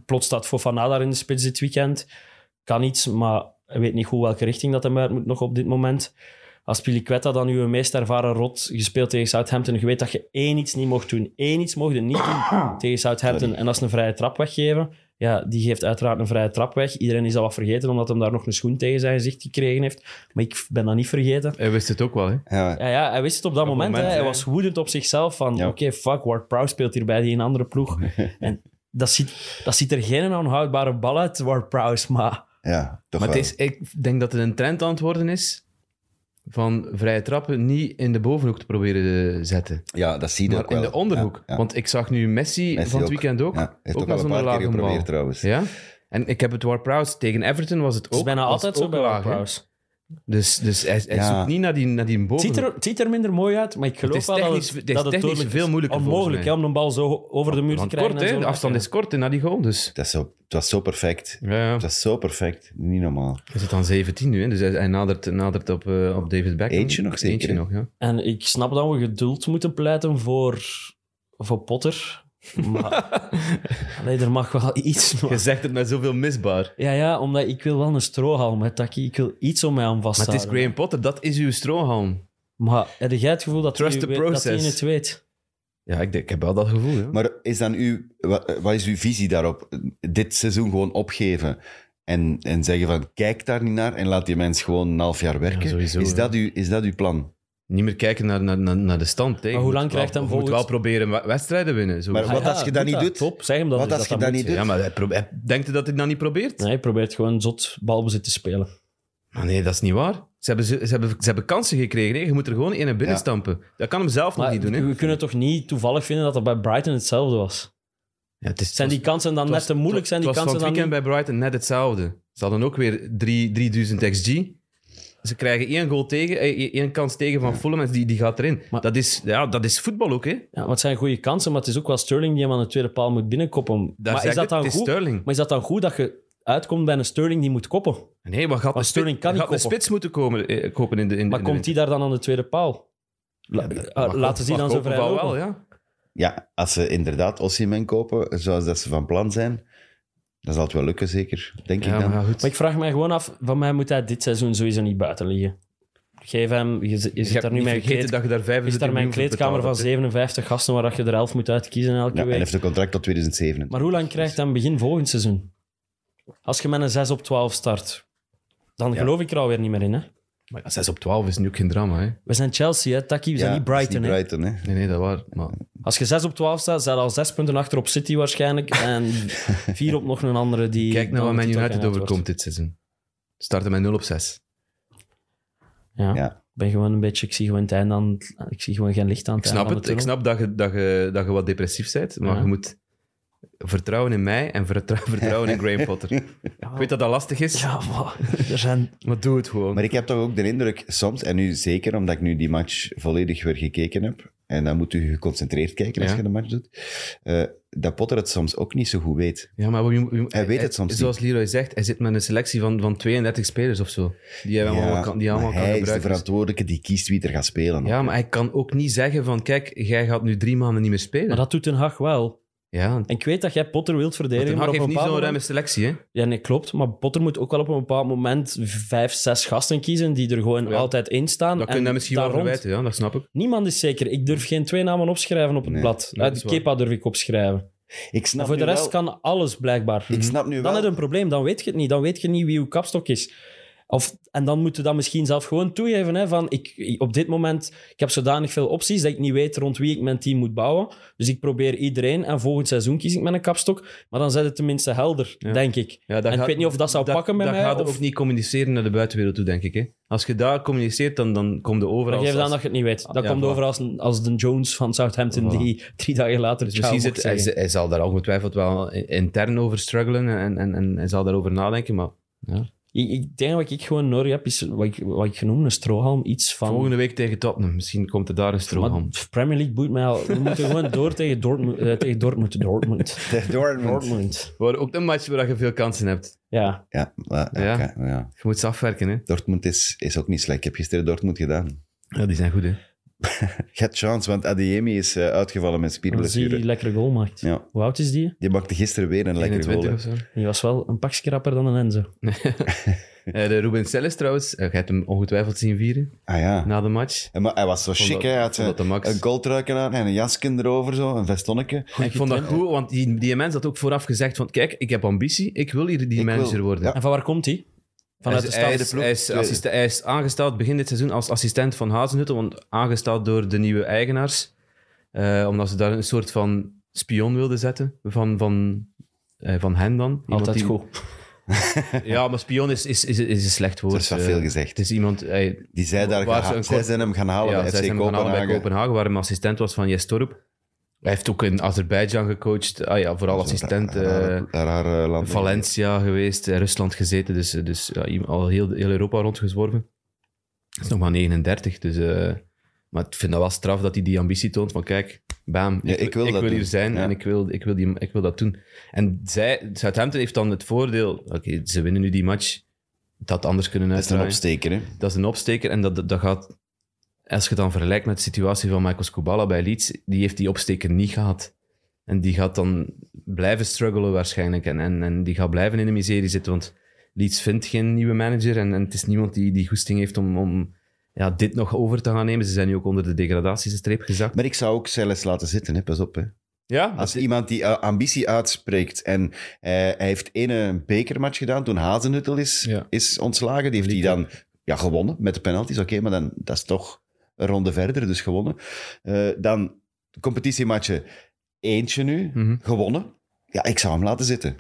D: Plots staat Fofana daar in de spits dit weekend. Kan iets, maar hij weet niet goed welke richting dat hem uit moet nog op dit moment als Piliquetta dan uw meest ervaren rot gespeeld tegen Southampton, je weet dat je één iets niet mocht doen. Eén iets mocht je niet doen tegen Southampton. En dat is een vrije trap weggeven. Ja, die geeft uiteraard een vrije trap weg. Iedereen is dat wat vergeten, omdat hem daar nog een schoen tegen zijn gezicht gekregen heeft. Maar ik ben dat niet vergeten.
C: Hij wist het ook wel, hè.
B: Ja,
D: Ja, ja hij wist het op dat moment.
C: moment,
D: hè. Hij
C: ja.
D: was woedend op zichzelf van,
B: Ja.
D: oké, fuck, Ward Prowse speelt hier bij die een andere ploeg. en dat ziet, dat ziet er geen onhoudbare bal uit, Ward Prowse, maar...
B: ja toch
C: Maar het
B: wel.
C: is, ik denk dat het een trend aan het worden is van vrije trappen niet in de bovenhoek te proberen te zetten,
B: Ja, dat zie je
C: maar
B: ook wel.
C: in de onderhoek.
B: Ja, ja.
C: Want ik zag nu Messi,
B: Messi
C: van het weekend ook,
B: Ja, heeft
C: ook,
B: ook
C: naar
B: al een
C: zo'n
B: paar keer
C: lage bal.
B: geprobeerd trouwens.
C: Ja? En ik heb het War Prowse tegen Everton was het ook.
D: Het is bijna
C: was
D: altijd
C: ook
D: zo bij
C: laag,
D: Ward
C: hè.
D: Prowse.
C: Dus, dus hij, hij
B: Ja.
C: zoekt niet naar die, naar die
D: Het
C: bovenhoek.
D: ziet, er, het ziet er minder mooi uit, maar ik geloof
C: is
D: wel dat
C: technisch-
D: het,
C: het is
D: dat het
C: technisch
D: dodelijk is.
C: veel moeilijker, volgens
D: Onmogelijk
C: mij.
D: hè, om een bal zo over de muur te
C: Want
D: krijgen.
C: kort,
D: en
C: hè.
D: zo.
C: De afstand is kort hè, naar die goal, dus...
B: Dat is zo, het was zo perfect.
C: Ja, ja.
B: Het was zo perfect. Niet normaal.
C: Hij zit aan 17 nu, hè. dus hij, hij nadert, nadert op, eh, op David Beckham.
B: Eentje nog zeker,
C: Eentje
B: hè?
C: nog, ja.
D: En ik snap dat we geduld moeten pleiten voor, voor Potter. Maar Allee, er mag wel iets.
C: Je
D: Maar...
C: zegt het met zoveel misbaar.
D: Ja, ja, omdat ik wil wel een strohalm met Taki. Ik wil iets om mij aan
C: Maar het is
D: vasthouden.
C: Graham Potter, dat is uw strohalm.
D: Maar heb jij het gevoel dat hij
C: Trust the
D: weet- dat hij
C: process.
D: het weet?
C: Ja, ik, denk- ik heb wel dat gevoel, ja.
B: Maar is dan uw, wa- wat is uw visie daarop? Dit seizoen gewoon opgeven en, en zeggen van kijk daar niet naar en laat die mens gewoon een half jaar werken.
C: Ja, sowieso,
B: is,
C: ja.
B: dat uw, is dat uw plan?
C: Niet meer kijken naar, naar, naar, naar de stand. hè.
D: Maar hoe
C: Je moet
D: lang krijgt
C: wel-
D: hem
C: Je moet wel
D: volgens-
C: proberen wa- wedstrijden winnen. Zo.
B: Maar wat
D: ja,
B: als je
D: doe
B: dat niet
D: dat.
B: doet?
D: Top, zeg hem dan
B: Wat
D: dus
B: als
D: dat
B: je dat
D: moet.
B: niet doet?
C: Ja, maar hij, pro- hij denkt dat hij dat niet probeert?
D: Nee, hij probeert gewoon zot balbezit te spelen.
C: Maar nee, dat is niet waar. Ze hebben, ze, ze hebben, ze hebben kansen gekregen. Hè. Je moet er gewoon in en binnen
B: Ja.
C: stampen. Dat kan hem zelf nog
D: Maar
C: niet doen. Hè.
D: we kunnen toch niet toevallig vinden dat dat bij Brighton hetzelfde was?
C: Ja, het is,
D: Zijn die kansen dan
C: het was-
D: net te moeilijk? Zijn die
C: het was
D: kansen
C: van
D: dan
C: het
D: niet...
C: weekend bij Brighton net hetzelfde. Ze hadden ook weer drie- 3000 XG. Ze krijgen één goal tegen, eh, één- één kans tegen van Fulham en die, die gaat erin.
D: Maar-
C: dat, is, ja, dat is voetbal ook, hè?
D: Ja, want het zijn goede kansen, maar het is ook wel Sterling die hem aan de tweede paal moet binnenkoppen.
C: Daar
D: maar,
C: zeg
D: is
C: ik
D: dat
C: het,
D: dan
C: het is
D: goed?
C: Sterling.
D: maar is dat dan goed dat je uitkomt bij een Sterling die moet koppen?
C: Nee, maar gaat,
D: Maar
C: de, spits-
D: Sterling kan niet
C: gaat de
D: koppen.
C: spits moeten komen, eh, kopen in de in,
D: Maar
C: in de
D: komt die daar dan aan de tweede paal? La- eh, laten ze die dan zo vrij
C: wel,
D: lopen?
C: wel, ja.
B: Ja, als ze inderdaad Ossiman kopen, zoals dat ze van plan zijn, dan zal het wel lukken zeker, denk
C: Ja,
B: ik dan.
C: maar goed.
D: Maar ik vraag mij gewoon af, van mij moet hij dit seizoen sowieso niet buiten liggen. Geef hem, je, zit- je
C: Je
D: zit daar
C: hebt
D: nu
C: niet
D: mijn
C: vergeten
D: kleed,
C: dat je daar 25
D: is daar mijn
C: miljoen voor
D: kleedkamer van
C: betaald hebt,
D: 57 gasten waar dat je er 11 moet uitkiezen elke
B: Ja, en
D: week.
B: heeft een contract tot 2007.
D: Maar hoe lang krijgt hij begin volgend seizoen? Als je met een 6 op 12 start, dan geloof ik er alweer niet meer in. Hè?
C: hè. Maar ja, 6 op 12 is nu ook geen drama, hè?
D: We zijn Chelsea, hè, Taki, we
B: Ja,
D: zijn niet
B: dat is
D: Brighton. hè.
B: Brighton, hè.
C: Nee, nee, dat waar. Maar
D: Als je 6 op 12 staat, zijn er al 6 punten achter op City waarschijnlijk. En 4 op nog een andere die.
C: kijk naar
D: dan
C: wat Man
D: de titel
C: United
D: kandidaat wordt.
C: overkomt dit seizoen. Starten met 0 op 6.
D: Ja.
B: Ja.
D: Ik ben gewoon een beetje, ik zie gewoon het einde aan, het- ik zie gewoon geen licht aan het
C: Ik snap
D: einde
C: het.
D: van
C: Ik
D: de
C: snap dat je, dat, je, dat je wat depressief bent, maar
D: Ja.
C: je moet vertrouwen in mij en vertrou- vertrouwen in Graham Potter. Ik weet dat dat lastig is,
D: tunnel. Ja, maar er zijn.
C: maar doe het gewoon.
B: Maar ik heb toch ook de indruk, soms, en nu zeker omdat ik nu die match volledig weer gekeken heb, en dan moet u geconcentreerd kijken als
C: Ja.
B: je de match doet, eh, dat Potter het soms ook niet zo goed weet.
C: Ja, maar wie- wie-
B: Hij weet het soms niet.
C: Zoals Leroy zegt, hij zit met een selectie van, van 32 spelers of zo. Die hij allemaal kan, die hij
B: maar
C: allemaal
B: hij is
C: kan
B: de
C: gebruiken.
B: verantwoordelijke die kiest wie er gaat spelen.
C: ja, maar hij kan ook niet zeggen van, kijk, jij gaat nu drie maanden niet meer spelen.
D: Maar dat doet Den Haag wel.
C: Ja, en
D: En ik weet dat jij Potter wilt verdedigen,
C: Ten
D: maar
C: Hag
D: op een
C: heeft niet
D: bepaald
C: zo'n
D: moment...
C: ruime selectie, hè?
D: Ja, nee, klopt. Maar Potter moet ook wel op een bepaald moment vijf, zes gasten kiezen die er gewoon
C: Ja.
D: altijd in staan.
C: Dat
D: en
C: kun je hem misschien
D: daar
C: wel
D: rond-
C: verwijten, ja, dat snap ik.
D: Niemand is zeker. Ik durf geen twee namen opschrijven op het
B: Nee,
D: blad.
C: nee,
D: Eh,
C: dat is waar.
D: Kepa durf ik opschrijven.
B: Ik
D: Maar
B: snap
D: voor de
B: nu wel-
D: rest kan alles blijkbaar. Mhm.
B: Ik snap nu
D: Dan
B: wel...
D: heb je een probleem, dan weet je het niet. Dan weet je niet wie uw kapstok is. Of, en dan moeten we dat misschien zelf gewoon toegeven. Hè, van ik, op dit moment, ik heb zodanig veel opties dat ik niet weet rond wie ik mijn team moet bouwen. Dus ik probeer iedereen en volgend seizoen kies ik met een kapstok. Maar dan zet het tenminste helder,
C: Ja.
D: denk ik.
C: Ja, dat
D: en ik weet niet of dat zou pakken met
C: dat
D: mij.
C: gaat
D: of,
C: ook niet communiceren naar de buitenwereld toe, denk ik. Hè? Als je daar communiceert, dan, dan komt de
D: maar
C: overal.
D: geef
C: als-
D: dan dat je het niet weet. Dat
C: Ja,
D: komt
C: voilà.
D: over als, als de Jones van Southampton
C: Voilà.
D: die drie dagen later
C: Dus
D: ciao
C: misschien
D: mocht
C: zit, hij,
D: zeggen.
C: hij zal daar ongetwijfeld wel i- intern over struggelen en, en, en hij zal daarover nadenken. Maar
D: Ik, ik denk wat ik gewoon nodig heb, is wat ik, wat ik genoemd een strohalm. Iets van...
C: volgende week tegen Tottenham, misschien komt er daar een stroom
D: Maar pff, Premier League boeit mij al. We moeten gewoon door tegen Dortmund. eh, tegen Dortmund. Dortmund.
B: De Dortmund.
D: Dortmund.
C: Maar ook een match waar je veel kansen hebt.
D: Ja.
B: Ja, maar,
C: Ja.
B: oké, ja.
C: Je moet ze afwerken, hè?
B: Dortmund is, is ook niet slecht. Ik heb gisteren Dortmund gedaan.
C: Ja, die zijn goed, hè?
B: Je hebt chance, want Adeyemi is eh, uitgevallen met
D: Dan zie je die
B: spierblessure.
D: lekkere goal maakt.
B: Ja,
D: Hoe oud is die?
B: die maakte gisteren weer een lekkere goal.
C: 21
B: hè.
C: of zo.
D: Die was wel een pak schrapper dan een Enzo.
C: Eh, de Ruben Selles trouwens, eh, je hebt hem ongetwijfeld zien vieren
B: Ah ja.
C: na de match.
B: En maar hij was zo
C: Nou. Vond
B: chic,
C: dat-
B: hè. Hij had
C: vond dat de
B: een,
C: max.
B: een goldruiken aan en een jasje erover, zo, een vestonnetje.
C: ik vond dat goed, want die, die mens had ook vooraf gezegd van, kijk, ik heb ambitie, ik wil hier die
B: Ik wil-
C: manager worden.
B: ja.
D: En van waar komt hij? Vanuit de
C: hij, is-
D: stad.
C: hij is,
B: ploeg.
C: hij, is assiste- hij is aangesteld begin dit seizoen als assistent van Hazenhutte, want aangesteld door de nieuwe eigenaars, eh, omdat ze daar een soort van spion wilden zetten van, van, eh, van hen dan. Iemand
D: Altijd
C: die-
D: goed.
C: Ja, maar spion is, is, is, is een slecht woord.
B: Dat is wat
C: eh.
B: veel
C: Het
B: gezegd.
C: is iemand... hij-
B: Die zij daar
C: Waar ze
B: geha-
C: een
B: zij
C: kort-
B: zijn hem gaan halen
C: ja,
B: bij
C: zij
B: FC
C: zijn hem gaan halen bij
B: Kopenhagen.
C: Kopenhagen, waar hij assistent was van Jes Torp. Hij heeft ook in Azerbeidzjan gecoacht. Ah ja, vooral assistent.
B: Raar,
C: eh,
B: raar, raar, eh, land.
C: Valencia geweest, eh, Rusland gezeten, dus, eh, dus ja, i- al heel, heel Europa rondgezworven. Hij is nog maar 39, dus... eh, maar ik vind dat wel straf dat hij die ambitie toont van kijk, bam,
B: Ja, ik wil dat doen.
C: hier zijn
B: Ja.
C: en ik wil, ik, wil die, ik wil dat doen. En zij, Southampton heeft dan het voordeel, oké, ze winnen nu die match, dat anders kunnen
B: Dat is een
C: uitdraaien.
B: opsteker, hè.
C: Dat is een opsteker en dat, dat, dat gaat... Als je dan vergelijkt met de situatie van Michael Scobala bij Leeds, die heeft die opsteker niet gehad. En die gaat dan blijven struggelen waarschijnlijk. En, en, en die gaat blijven in de miserie zitten, want Leeds vindt geen nieuwe manager. En, en het is niemand die die goesting heeft om, om ja, dit nog over te gaan nemen. Ze zijn nu ook onder de degradatiestreep gezakt.
B: Maar ik zou ook Celis laten zitten, hè. pas op. Hè.
C: Ja,
B: Als iemand die eh, ambitie uitspreekt en eh, hij heeft ene bekermatch gedaan toen Hazenhuttel is,
C: Ja.
B: is ontslagen, die heeft hij dan ja, gewonnen met de penalties, oké, maar dan, dat is toch een ronde verder, dus gewonnen. Eh, dan competitiematchen, eentje nu,
C: Mhm.
B: gewonnen. Ja, ik zou hem laten zitten.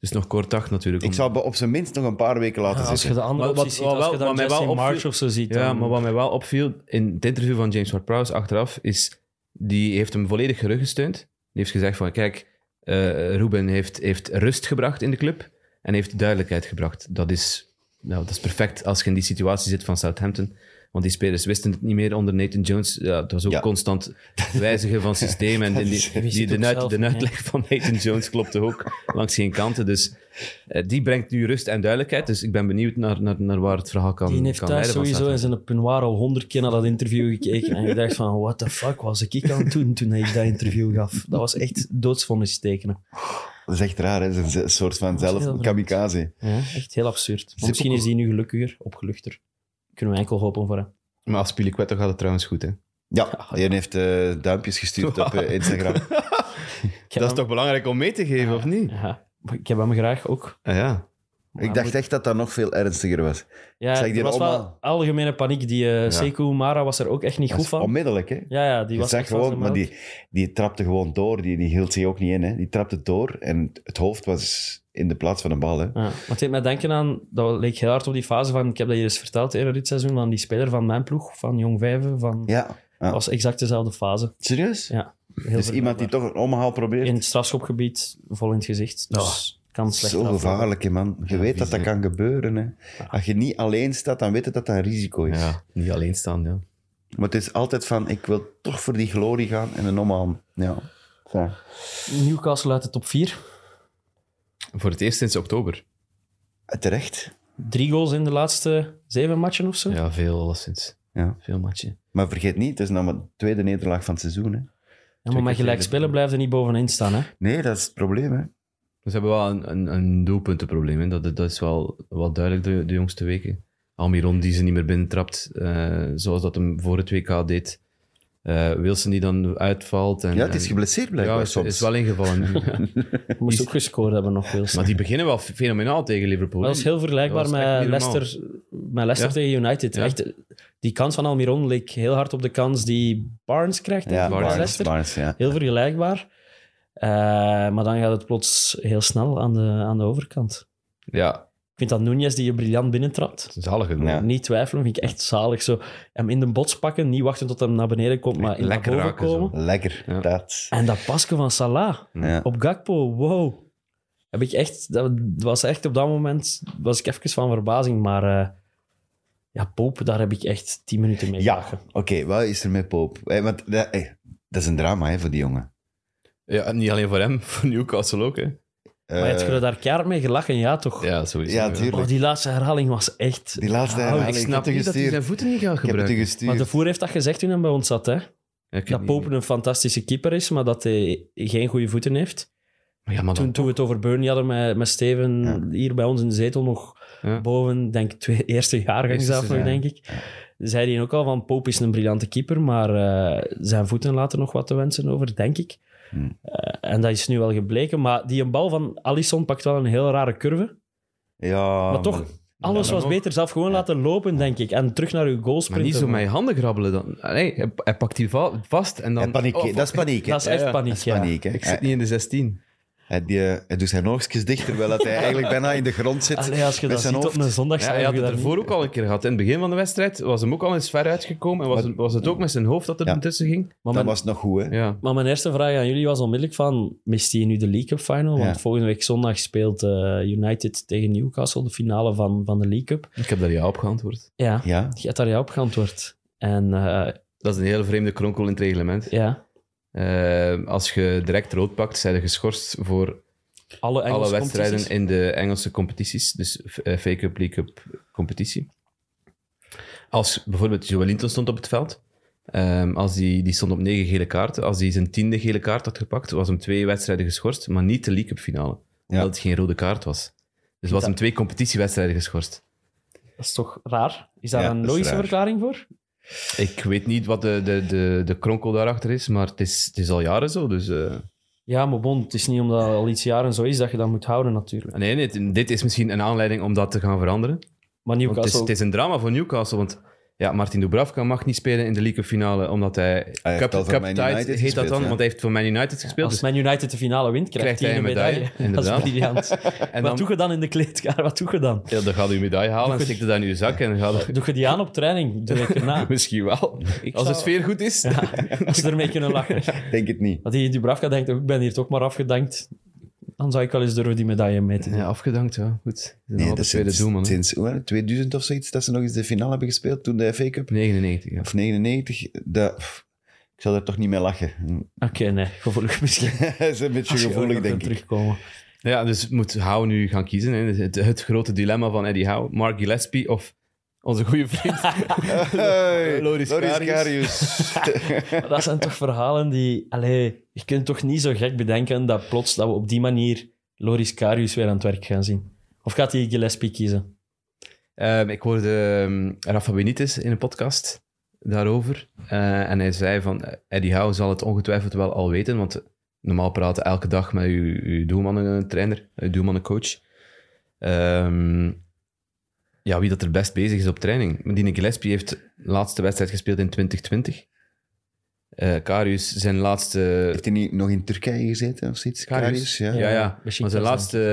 C: dus nog kort dag natuurlijk.
B: Ik
C: om-
B: zou be- op zijn minst nog een paar weken laten
D: als je
B: zitten.
D: de andere
C: Maar wat-
D: opties ziet,
C: wat
D: als
C: wel-
D: je
C: wat
D: dan
C: mij wel
D: Jesse
C: opviel-
D: March of zo ziet...
C: Ja,
D: dan-
C: maar wat mij wel opviel in het interview van James Ward-Prowse achteraf is, die heeft hem volledig geruggesteund. Die heeft gezegd van, kijk, eh Ruben heeft, heeft rust gebracht in de club en heeft duidelijkheid gebracht. Dat is, nou, dat is perfect als je in die situatie zit van Southampton. Want die spelers wisten het niet meer onder Nathan Jones. Ja, het was ook
B: Ja.
C: constant wijzigen van systeem. En die,
B: is-
C: die,
D: wist het ook
C: de, uit-
D: zelf,
C: de
D: hè?
C: uitleg van Nathan Jones klopte ook langs geen kanten. Dus eh, die brengt nu rust en duidelijkheid. Dus ik ben benieuwd naar, naar, naar waar het verhaal kan,
D: Die heeft
C: kan
D: thuis
C: leiden. van
D: sowieso
C: Southampton.
D: in zijn peignoir al honderd keer naar dat interview gekeken. En gedacht van, what the fuck was ik aan het doen toen ik dat interview gaf? Dat was echt doodsvonnis tekenen.
B: Dat is echt raar, hè. Dat is een soort van
D: Dat is heel
B: zelf
D: vreemd.
B: kamikaze.
D: Ja, echt heel absurd. Maar
B: Zit
D: misschien
B: ook-
D: is hij nu gelukkiger, opgeluchter. Kunnen we enkel hopen voor hem.
C: Maar als Pilikwetter gaat het trouwens goed, hè?
B: Ja, die heeft eh, duimpjes gestuurd op eh, Instagram.
D: Ik heb hem-
C: belangrijk om mee te geven, of niet?
D: Ja, maar ik heb hem graag ook.
C: Ah, ja.
D: Maar
B: Ik dacht echt dat dat nog veel ernstiger was.
D: ja,
B: zeg die
D: er was
B: allemaal-
D: wel algemene paniek. Die eh Sekou Mara was er ook echt niet
B: Dat
D: goed
B: is
D: van.
B: onmiddellijk, hè?
D: Ja, ja, die
B: Je
D: was
B: zag
D: echt van
B: gewoon,
D: zijn
B: maar
D: melk.
B: die, die trapte gewoon door. Die, die hield zich ook niet in. Hè. Die trapte door en het hoofd was in de plaats van een bal. Hè.
D: Ja, maar het deed mij denken aan, dat leek heel hard op die fase van, ik heb dat hier eens verteld eerder dit seizoen, van die speler van mijn ploeg, van Jong Vijven, van,
B: Ja. ja.
D: dat was exact dezelfde fase.
B: Serieus?
D: Ja, Heel
B: dus iemand die
D: vergelijkbaar.
B: toch een omhaal probeert.
D: In het strafschopgebied, vol in het gezicht. Dus kan slecht
B: Oh, Zo
D: aflopen.
B: gevaarlijk, hè, man. Je weet dat
C: vies,
B: dat
C: hè.
B: kan gebeuren. Hè. Als je niet alleen staat, dan weet je dat dat een risico is.
C: ja. Niet alleen staan, ja.
B: Maar het is altijd van, ik wil toch voor die glorie gaan en een omhaal. Ja. Zo.
D: Newcastle uit de top 4.
C: Voor het eerst sinds oktober.
B: Terecht.
D: Drie goals in de laatste zeven matchen of zo.
C: Ja, veel sinds.
B: Ja.
C: Veel matchen.
B: Maar vergeet niet, het is nou maar de tweede nederlaag van het seizoen. Hè.
D: Ja, maar met gelijk spelen blijft er niet bovenin staan. Hè?
B: Nee, dat is het probleem. Hè.
C: Dus Ze hebben wel een, een, een doelpuntenprobleem. Hè. Dat, dat is wel, wel duidelijk de, de jongste weken. Almiron die ze niet meer binnentrapt, eh zoals dat hem voor het WK deed. Eh, Wilson die dan uitvalt. En,
B: Ja, het is
C: en-
B: geblesseerd blijkbaar
C: Ja, is,
B: soms.
C: is wel ingevallen. nu.
D: Moest ook gescoord hebben nog, Wilson.
C: maar die beginnen wel fenomenaal tegen Liverpool.
D: Dat is heel vergelijkbaar
C: Dat was echt
D: met
C: niet normaal.
D: Leicester, met Leicester
C: Ja?
D: tegen United.
C: Ja.
D: Echt, die kans van Almiron leek heel hard op de kans die Barnes krijgt
B: Ja,
D: tegen
B: Barnes,
D: Leicester.
B: Barnes, ja.
D: Heel vergelijkbaar. Eh, maar dan gaat het plots heel snel aan de, aan de overkant.
C: Ja,
D: Ik vind dat Nunez die je briljant binnentrapt.
C: zalig gedaan.
B: Ja.
D: Niet twijfelen, vind ik echt zalig. Zo, hem in de bots pakken, niet wachten tot hem naar beneden komt, maar in naar
C: Lekker
D: boven
C: raken zo.
D: komen.
B: Lekker,
C: Ja.
B: dat.
D: En dat pasken van Salah.
C: Mm.
B: Ja.
D: Op Gakpo, wow. Heb ik echt, dat was echt op dat moment, was ik even van verbazing, maar eh, ja, Pope, daar heb ik echt tien minuten mee
B: Ja,
D: gelachen.
B: oké, wat is er met Poop? Eh, want, dat, eh, dat is een drama hè, voor die jongen.
C: Ja, en niet alleen voor hem, voor Newcastle ook. Hè.
B: Eh,
D: Maar heb je daar keihard mee gelachen, ja toch?
C: Ja, sowieso.
B: ja, tuurlijk.
D: Oh, die laatste herhaling was echt...
B: Die laatste
D: Oh,
B: herhaling,
C: Ik
B: heb
C: snap
B: het
C: niet dat hij
B: gestuurd.
C: zijn voeten niet gaat
B: Ik heb het
C: gebruiken.
B: je
D: Maar
B: gestuurd.
D: de voer heeft dat gezegd toen hij bij ons zat, hè?
C: Ja, ik
D: Dat
C: weet
D: Pope
C: niet.
D: een fantastische keeper is, maar dat hij geen goede voeten heeft.
C: Maar ja, maar dan-
D: Toen, toen we het over Burnley hadden met, met Steven,
B: Ja.
D: hier bij ons in de zetel nog
C: Ja.
D: boven, denk ik, twee, eerste jaargang
C: Eerste
D: zelf nog,
C: seizoen.
D: denk ik. Zei hij ook al van, Pope is een briljante keeper, maar eh, zijn voeten laten nog wat te wensen over, denk ik.
B: Hmm.
D: Eh, en dat is nu wel gebleken, maar die een bal van Alisson pakt wel een heel rare curve.
B: Oh, ja,
D: maar toch, alles
C: dan
D: was
C: nog.
D: beter. Zelf gewoon laten lopen, denk ik. En terug naar uw goal
C: Maar
D: sprinten.
C: niet zo met je handen grabbelen dan. Nee, hij, hij pakt die va- vast en dan...
B: Hij paniek,
C: Oh,
B: dat is paniek. hè.
D: Dat is echt
C: Ja, ja.
D: paniek,
B: Dat is
D: ja.
B: paniek, hè.
C: Ik zit niet in de 16.
B: Hij, die, eh, hij doet zijn oogstjes dicht, terwijl dat hij eigenlijk bijna in de grond zit.
D: Allee, als je
B: met
D: dat ziet
B: zijn
D: op
B: hoofd.
D: een zondag,
C: Ja,
D: zou
C: hij
D: je
C: had
D: dat
C: het
D: niet-
C: ervoor ook al een keer gehad. In het begin van de wedstrijd was hem ook al eens ver uitgekomen. En was,
B: Maar-
C: was het ook met zijn hoofd dat er
B: Ja.
C: tussen ging.
D: Maar
B: Dan
D: mijn,
B: was het nog goed, hè.
C: Ja.
D: maar mijn eerste vraag aan jullie was onmiddellijk van, mist hij nu de League Cup final? Want
B: Ja.
D: volgende week zondag speelt eh, United tegen Newcastle, de finale van, van de League Cup.
C: Ik heb daar ja op geantwoord.
D: Ja,
B: Ja,
D: je hebt daar ja op geantwoord. En eh,
C: Dat is een hele vreemde kronkel in het reglement.
D: ja,
C: Eh, als je direct rood pakt, zijn ze geschorst voor
D: alle Engelse
C: alle wedstrijden
D: competities.
C: in de Engelse competities. Dus eh, FA Cup, League Cup competitie. Als bijvoorbeeld Joe Wellington stond op het veld. ehm, als die, die stond op negen gele kaarten. Als hij zijn tiende gele kaart had gepakt, was hem twee wedstrijden geschorst, maar niet de League Cup finale.
B: Ja.
C: Omdat het geen rode kaart was. Dus was hem twee competitiewedstrijden geschorst.
D: Dat is toch raar? Is daar
B: Ja,
D: een
B: dat is
D: logische
B: raar.
D: verklaring voor?
C: Ik weet niet wat de, de, de, de kronkel daarachter is, maar het is, het is al jaren zo. Dus, eh,
D: Ja, maar bon, het is niet omdat al iets jaren zo is dat je dat moet houden natuurlijk.
C: nee, nee, dit is misschien een aanleiding om dat te gaan veranderen.
D: Maar
C: Want het, is,
D: Newcastle...
C: het is een drama voor Newcastle, want ja, Martin Dubravka mag niet spelen in de League Cup finale, omdat hij...
B: Hij heeft al voor Man
C: tied
B: United
C: heet dat
B: gespeeld,
C: dan,
B: ja.
C: want hij heeft voor Man United gespeeld.
D: Als
C: dus-
D: Man United de finale wint, krijgt,
C: Krijgt hij
D: hij een
C: een medaille,
D: medaille.
C: inderdaad.
D: Dat is briljant.
C: en
D: Wat
C: dan,
D: doe je dan in de kleedkamer? Wat doe je dan?
C: ja, dan gaat hij je medaille halen en stikt het aan je zak en dan gaat
D: Doe je die aan op training de week erna?
C: Misschien wel.
D: Ik
C: Als de
D: zou-
C: sfeer goed is.
D: Als ze ermee kunnen lachen.
B: ik denk het niet.
D: Dat die Dubravka denkt, oh, ik ben hier toch maar afgedankt. Dan zou ik wel eens durven die medaille mee te nemen.
C: Ja, afgedankt, ja. Goed.
B: Nee,
C: dat
B: dat
C: is
B: is
C: tweede
B: sinds,
C: doelman. hè.
B: sinds hoe, hè, 2000 of zoiets, dat ze nog eens de finale hebben gespeeld, toen de FA Cup.
C: 99, ja.
B: Of 99, dat... pff, Ik zal er toch niet mee lachen.
D: Oké, nee. Gevoelig misschien.
B: dat is een beetje
D: Als je ooit
B: gevoelig,
D: nog
B: denk
D: kunt
B: ik.
D: Terugkomen.
C: Ja, dus moet Howe nu gaan kiezen. Hè. Het, het grote dilemma van Eddie Howe, Mark Gillespie of onze goede vriend.
B: Hey,
C: Loris Karius.
B: Karius.
D: Maar dat zijn toch verhalen die... Allee, je kunt toch niet zo gek bedenken dat plots dat we op die manier Loris Karius weer aan het werk gaan zien. Of gaat hij Gillespie kiezen?
C: Ehm, ik hoorde ehm, Rafa Benitez in een podcast daarover. Eh, en hij zei van, eh, Eddie Howe zal het ongetwijfeld wel al weten, want eh, normaal praten elke dag met uw, uw doelmannen-trainer, uw doelmannen-coach. Ehm, ja, wie dat er best bezig is op training. Medine Gillespie heeft de laatste wedstrijd gespeeld in 2020. Eh, Karius zijn laatste
B: Heeft hij niet nog in Turkije gezeten of zoiets? Karius,
C: Karius.
B: ja.
C: ja, ja.
D: Beşiktaş
C: Maar zijn
D: dan.
C: laatste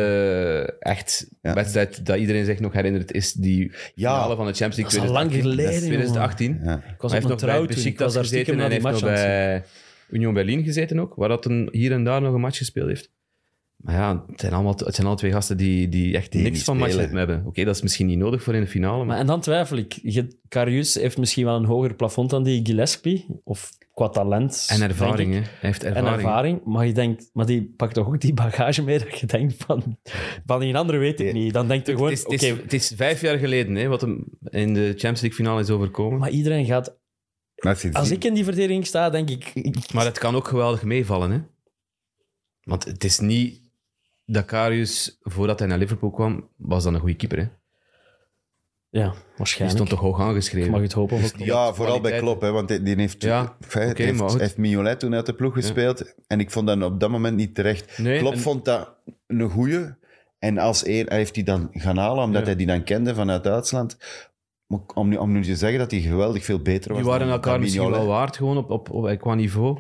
C: eh, echt
B: Ja.
C: wedstrijd dat iedereen zich nog herinnert, is die finale van de Champions League
D: Dat is al lang
C: 2018.
D: geleden,
C: Dat is 2018.
B: Ja.
D: Ik was
C: Hij
D: op
C: heeft
D: mijn
C: nog bij
D: trouw toen. Ik was
C: Besiktas
D: daar
C: gezeten
D: stiekem
C: en
D: naar
C: hij
D: die
C: heeft nog
D: match aan het zien.
C: bij Union Berlin gezeten ook, waar dat een, hier en daar nog een match gespeeld heeft. Maar ja, het zijn allemaal, het zijn allemaal twee gasten die, die echt
B: Die
C: niks
B: niet
C: van matchritme
B: spelen.
C: hebben. Oké, dat is misschien niet nodig voor in de finale, maar...
D: Maar en dan twijfel ik. Je- Karius heeft misschien wel een hoger plafond dan die Gillespie. Of qua talent.
C: en
D: denk
C: ervaring,
D: ik.
C: hè. Hij heeft
D: En
C: ervaring.
D: ervaring. Maar, je denkt, maar die pakt toch ook die bagage mee dat je denkt van... Van die andere weet ik
B: Nee.
D: niet. Dan denkt je
C: Het
D: gewoon...
C: is,
D: Oké,
C: het, is, het is vijf jaar geleden hè, wat hem in de Champions League finale is overkomen.
D: maar iedereen gaat
B: Laat zien.
D: Als ik in die verdediging sta, denk ik... ik-
C: Maar het kan ook geweldig meevallen, hè? Want het is niet. Dakarius, voordat hij naar Liverpool kwam, was dan een goede keeper. Hè?
D: ja,
C: Die
D: waarschijnlijk.
C: stond toch hoog
D: Ik mag
C: aangeschreven.
D: het hopen. Of
B: Dus Ja, vooral bij
C: kwaliteiten.
B: Klopp, hè, want die die heeft,
C: Ja,
B: feit,
C: oké, maar
B: heeft,
C: goed.
B: heeft Mignolet toen uit de ploeg gespeeld. En ik vond dat op dat moment niet terecht.
C: Nee,
B: Klopp
C: en-
B: vond dat een goeie. En als eer hij heeft die dan gaan halen, omdat
C: Ja.
B: hij die dan kende vanuit Duitsland. Maar om, nu, om nu te zeggen dat hij geweldig veel beter was
C: Die waren
B: dan,
C: elkaar
B: dan
C: misschien
B: Mignolet.
C: wel waard, gewoon op, op, op, qua niveau.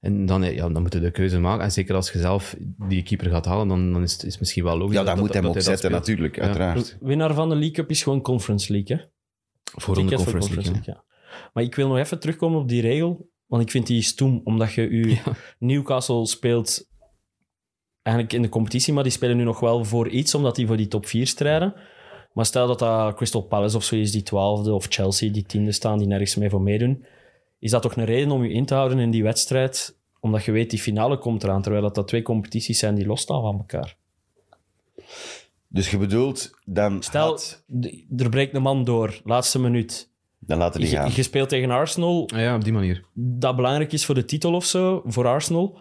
C: En dan, ja, dan moet je de keuze maken. En zeker als je zelf die keeper gaat halen, dan, dan is het is het misschien wel logisch.
B: Ja, daar moet hij hem op
C: dat
B: zetten,
C: speelt.
B: natuurlijk,
C: Ja.
B: uiteraard.
D: Winnaar van de League Cup is gewoon Conference League, hè?
C: Voor een
D: Ticket
C: conference League, hè.
D: League, ja. Maar ik wil nog even terugkomen op die regel, want ik vind die stoem, omdat je u Newcastle speelt eigenlijk in de competitie, maar die spelen nu nog wel voor iets, omdat die voor die top 4 strijden. Maar stel dat dat Crystal Palace of zo is, die twaalfde, of Chelsea, die tiende staan, die nergens mee voor meedoen. Is dat toch een reden om je in te houden in die wedstrijd? Omdat je weet, die finale komt eraan, terwijl dat, dat twee competities zijn die losstaan van elkaar.
B: Dus je bedoelt, dan,
D: Stel,
B: had-
D: d- er breekt een man door, laatste minuut.
B: dan laten die
D: Je,
B: gaan.
D: je speelt tegen Arsenal,
C: Ja, op die manier.
D: dat belangrijk is voor de titel of zo, voor Arsenal.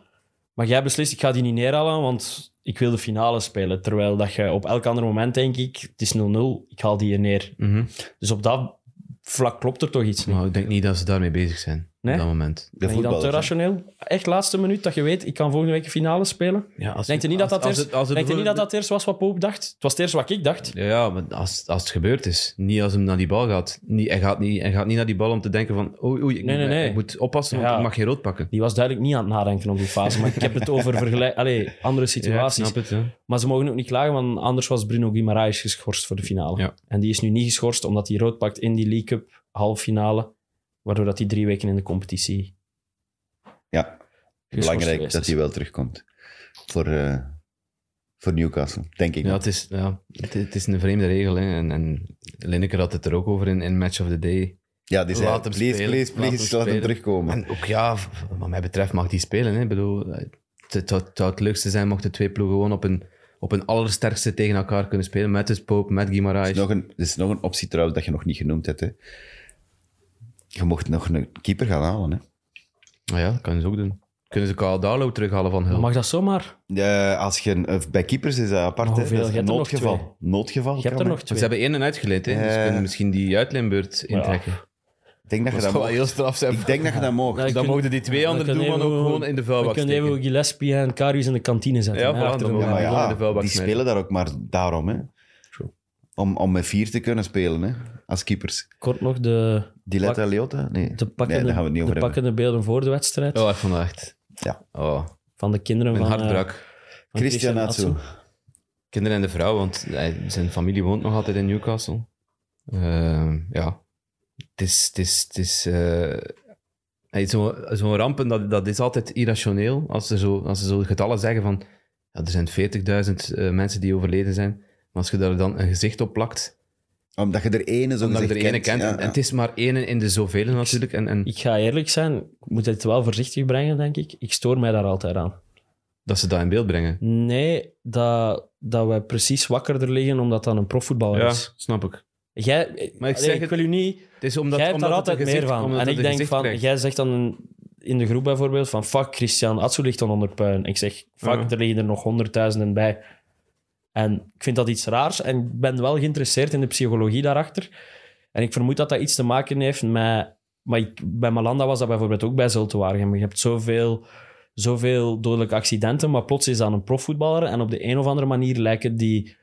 D: Maar jij beslist, ik ga die niet neerhalen, want ik wil de finale spelen. Terwijl dat je op elk ander moment denk ik, het is 0-0, ik haal die hier neer.
C: Mhm.
D: Dus op dat vlak klopt er toch iets niet.
C: Maar ik denk niet dat ze daarmee bezig zijn
D: Nee?
C: op dat moment.
B: De
D: ben je dan
B: voetballers,
D: te
B: hè.
D: rationeel? Echt laatste minuut dat je weet, ik kan volgende week een finale spelen?
C: Ja, als,
D: Denk je niet dat dat eerst-
C: als
D: Denk je niet dat
C: bijvoorbeeld-
D: dat eerst was wat Poop dacht? Het was het eerst wat ik dacht.
C: Ja, ja, maar als, als het gebeurd is. Niet als hij naar die bal gaat. Niet, hij, gaat niet, hij gaat niet naar die bal om te denken van... Oei, oei, ik,
D: Nee, nee,
C: moet,
D: nee.
C: ik moet oppassen, want
D: Ja.
C: ik mag geen rood pakken.
D: Die was duidelijk niet aan het nadenken op die fase. Maar ik heb het over vergelijk... Allee, andere situaties.
C: Ja, ik snap het,
D: Maar ze mogen ook niet klagen, want anders was Bruno Guimaraes geschorst voor de finale.
C: Ja.
D: En die is nu niet geschorst omdat hij rood pakt in die League Cup halve finale, waardoor dat hij drie weken in de competitie
B: Ja,
D: geschorst
B: belangrijk
D: geweest
B: dat
D: is.
B: hij wel terugkomt voor, eh, voor Newcastle, denk ik.
C: ja, het, is, ja het, het is een vreemde regel. Hè. En, en Lineker had het er ook over in, in Match of the Day.
B: Ja, die zei,
C: Laat hem
B: please,
C: spelen,
B: please,
C: laat hem
B: please, laat hem,
C: spelen.
B: terugkomen.
C: En ook ja, v- wat mij betreft mag die spelen. Hè. Ik bedoel, het, het, zou- het zou het leukste zijn mochten twee ploegen gewoon op een, op een allersterkste tegen elkaar kunnen spelen. Met dus Pope, met
B: Er
C: Guimaraes.
B: is, nog een, er is nog een optie trouwens dat je nog niet genoemd hebt. Hè. Je mocht nog een keeper gaan halen. Hè.
C: Nou ja, dat kunnen ze ook doen. Kunnen ze Kyle Darlow terughalen van Hull?
D: Maar Mag dat zomaar?
B: Eh, als je, een- eh, bij keepers is dat apart.
D: Maar
B: hè.
D: hoeveel?
B: Dat is
D: Je
B: een
D: hebt er nog
B: noodgeval. Noodgeval.
D: Je hebt
B: kan, hè.
D: er nog
C: Ze
D: twee.
C: hebben één en uitgeleid, hè? dus ze
B: Eh.
C: kunnen misschien die uitleenbeurt intrekken.
B: Ik denk dat je dat mag.
C: straf zijn.
B: Ik denk dat je dat mag.
D: Ja,
C: Dus dan
D: kunnen-
C: mogen die twee
D: Ja,
C: andere
D: dan kunnen
C: doelmannen ook
D: even-
C: gewoon in de vuilbak
D: We kunnen even
C: steken.
D: Gillespie en Karius in de kantine zetten.
C: Ja,
D: hè,
C: voilà,
D: achter
C: dan
D: de
C: mogen
B: Ja,
D: goal.
B: maar
C: Ja, in
B: ja,
C: de vuilbak
B: die
C: smijten.
B: spelen daar ook maar daarom. Hè. Om, om met vier te kunnen spelen hè, als keepers.
D: Kort nog de,
B: Diletta Leota? Nee.
D: de,
B: nee,
D: pakkende,
B: daar gaan we het niet
D: de
B: over hebben.
D: pakkende beelden voor de wedstrijd
C: Oh, ik vond dat echt...
B: Ja.
C: Oh,
D: van de kinderen
C: mijn
D: van,
C: hart
D: eh,
C: brak.
D: van
B: Christian Atsu.
C: Kinderen en de vrouw, want hij- zijn familie woont nog altijd in Newcastle. Eh, ja. Het is... Het is, het is eh, hey, Zo'n zo'n rampen, dat, dat is altijd irrationeel. Als, er zo, als ze zo getallen zeggen van... ja, er zijn 40.000 eh, mensen die overleden zijn. Maar als je daar dan een gezicht op plakt...
B: Omdat je er ene zo
C: Omdat je er
B: gezegd
C: ene kent.
B: Dus Ja,
C: en, en
B: ja.
C: het is maar ene in de zoveel natuurlijk. En, en
D: Ik ga eerlijk zijn, ik moet het wel voorzichtig brengen, denk ik. Ik stoor mij daar altijd aan.
C: dat ze dat in beeld brengen.
D: Nee, dat, dat wij precies wakkerder liggen omdat dat een profvoetballer is.
C: snap ik.
D: Jij,
C: Maar ik
D: allee,
C: zeg
D: ik
C: het-
D: wil u niet...
C: Het is omdat,
D: jij hebt
C: omdat
D: daar
C: het een
D: altijd
C: gezicht,
D: meer van.
C: omdat
D: En
C: het
D: ik
C: een
D: denk
C: gezicht
D: van...
C: krijgt.
D: Jij zegt dan in de groep bijvoorbeeld van... Fuck, Christian Atsu ligt dan onder puin. Ik zeg, fuck,
C: Ja.
D: er liggen er nog honderdduizenden bij. En ik vind dat iets raars. En ik ben wel geïnteresseerd in de psychologie daarachter. En ik vermoed dat dat iets te maken heeft met... Maar ik- bij Malanda was dat bijvoorbeeld ook bij Zulte Waregem. Je hebt zoveel, zoveel dodelijke accidenten, maar plots is dat een profvoetballer. En op de een of andere manier lijken die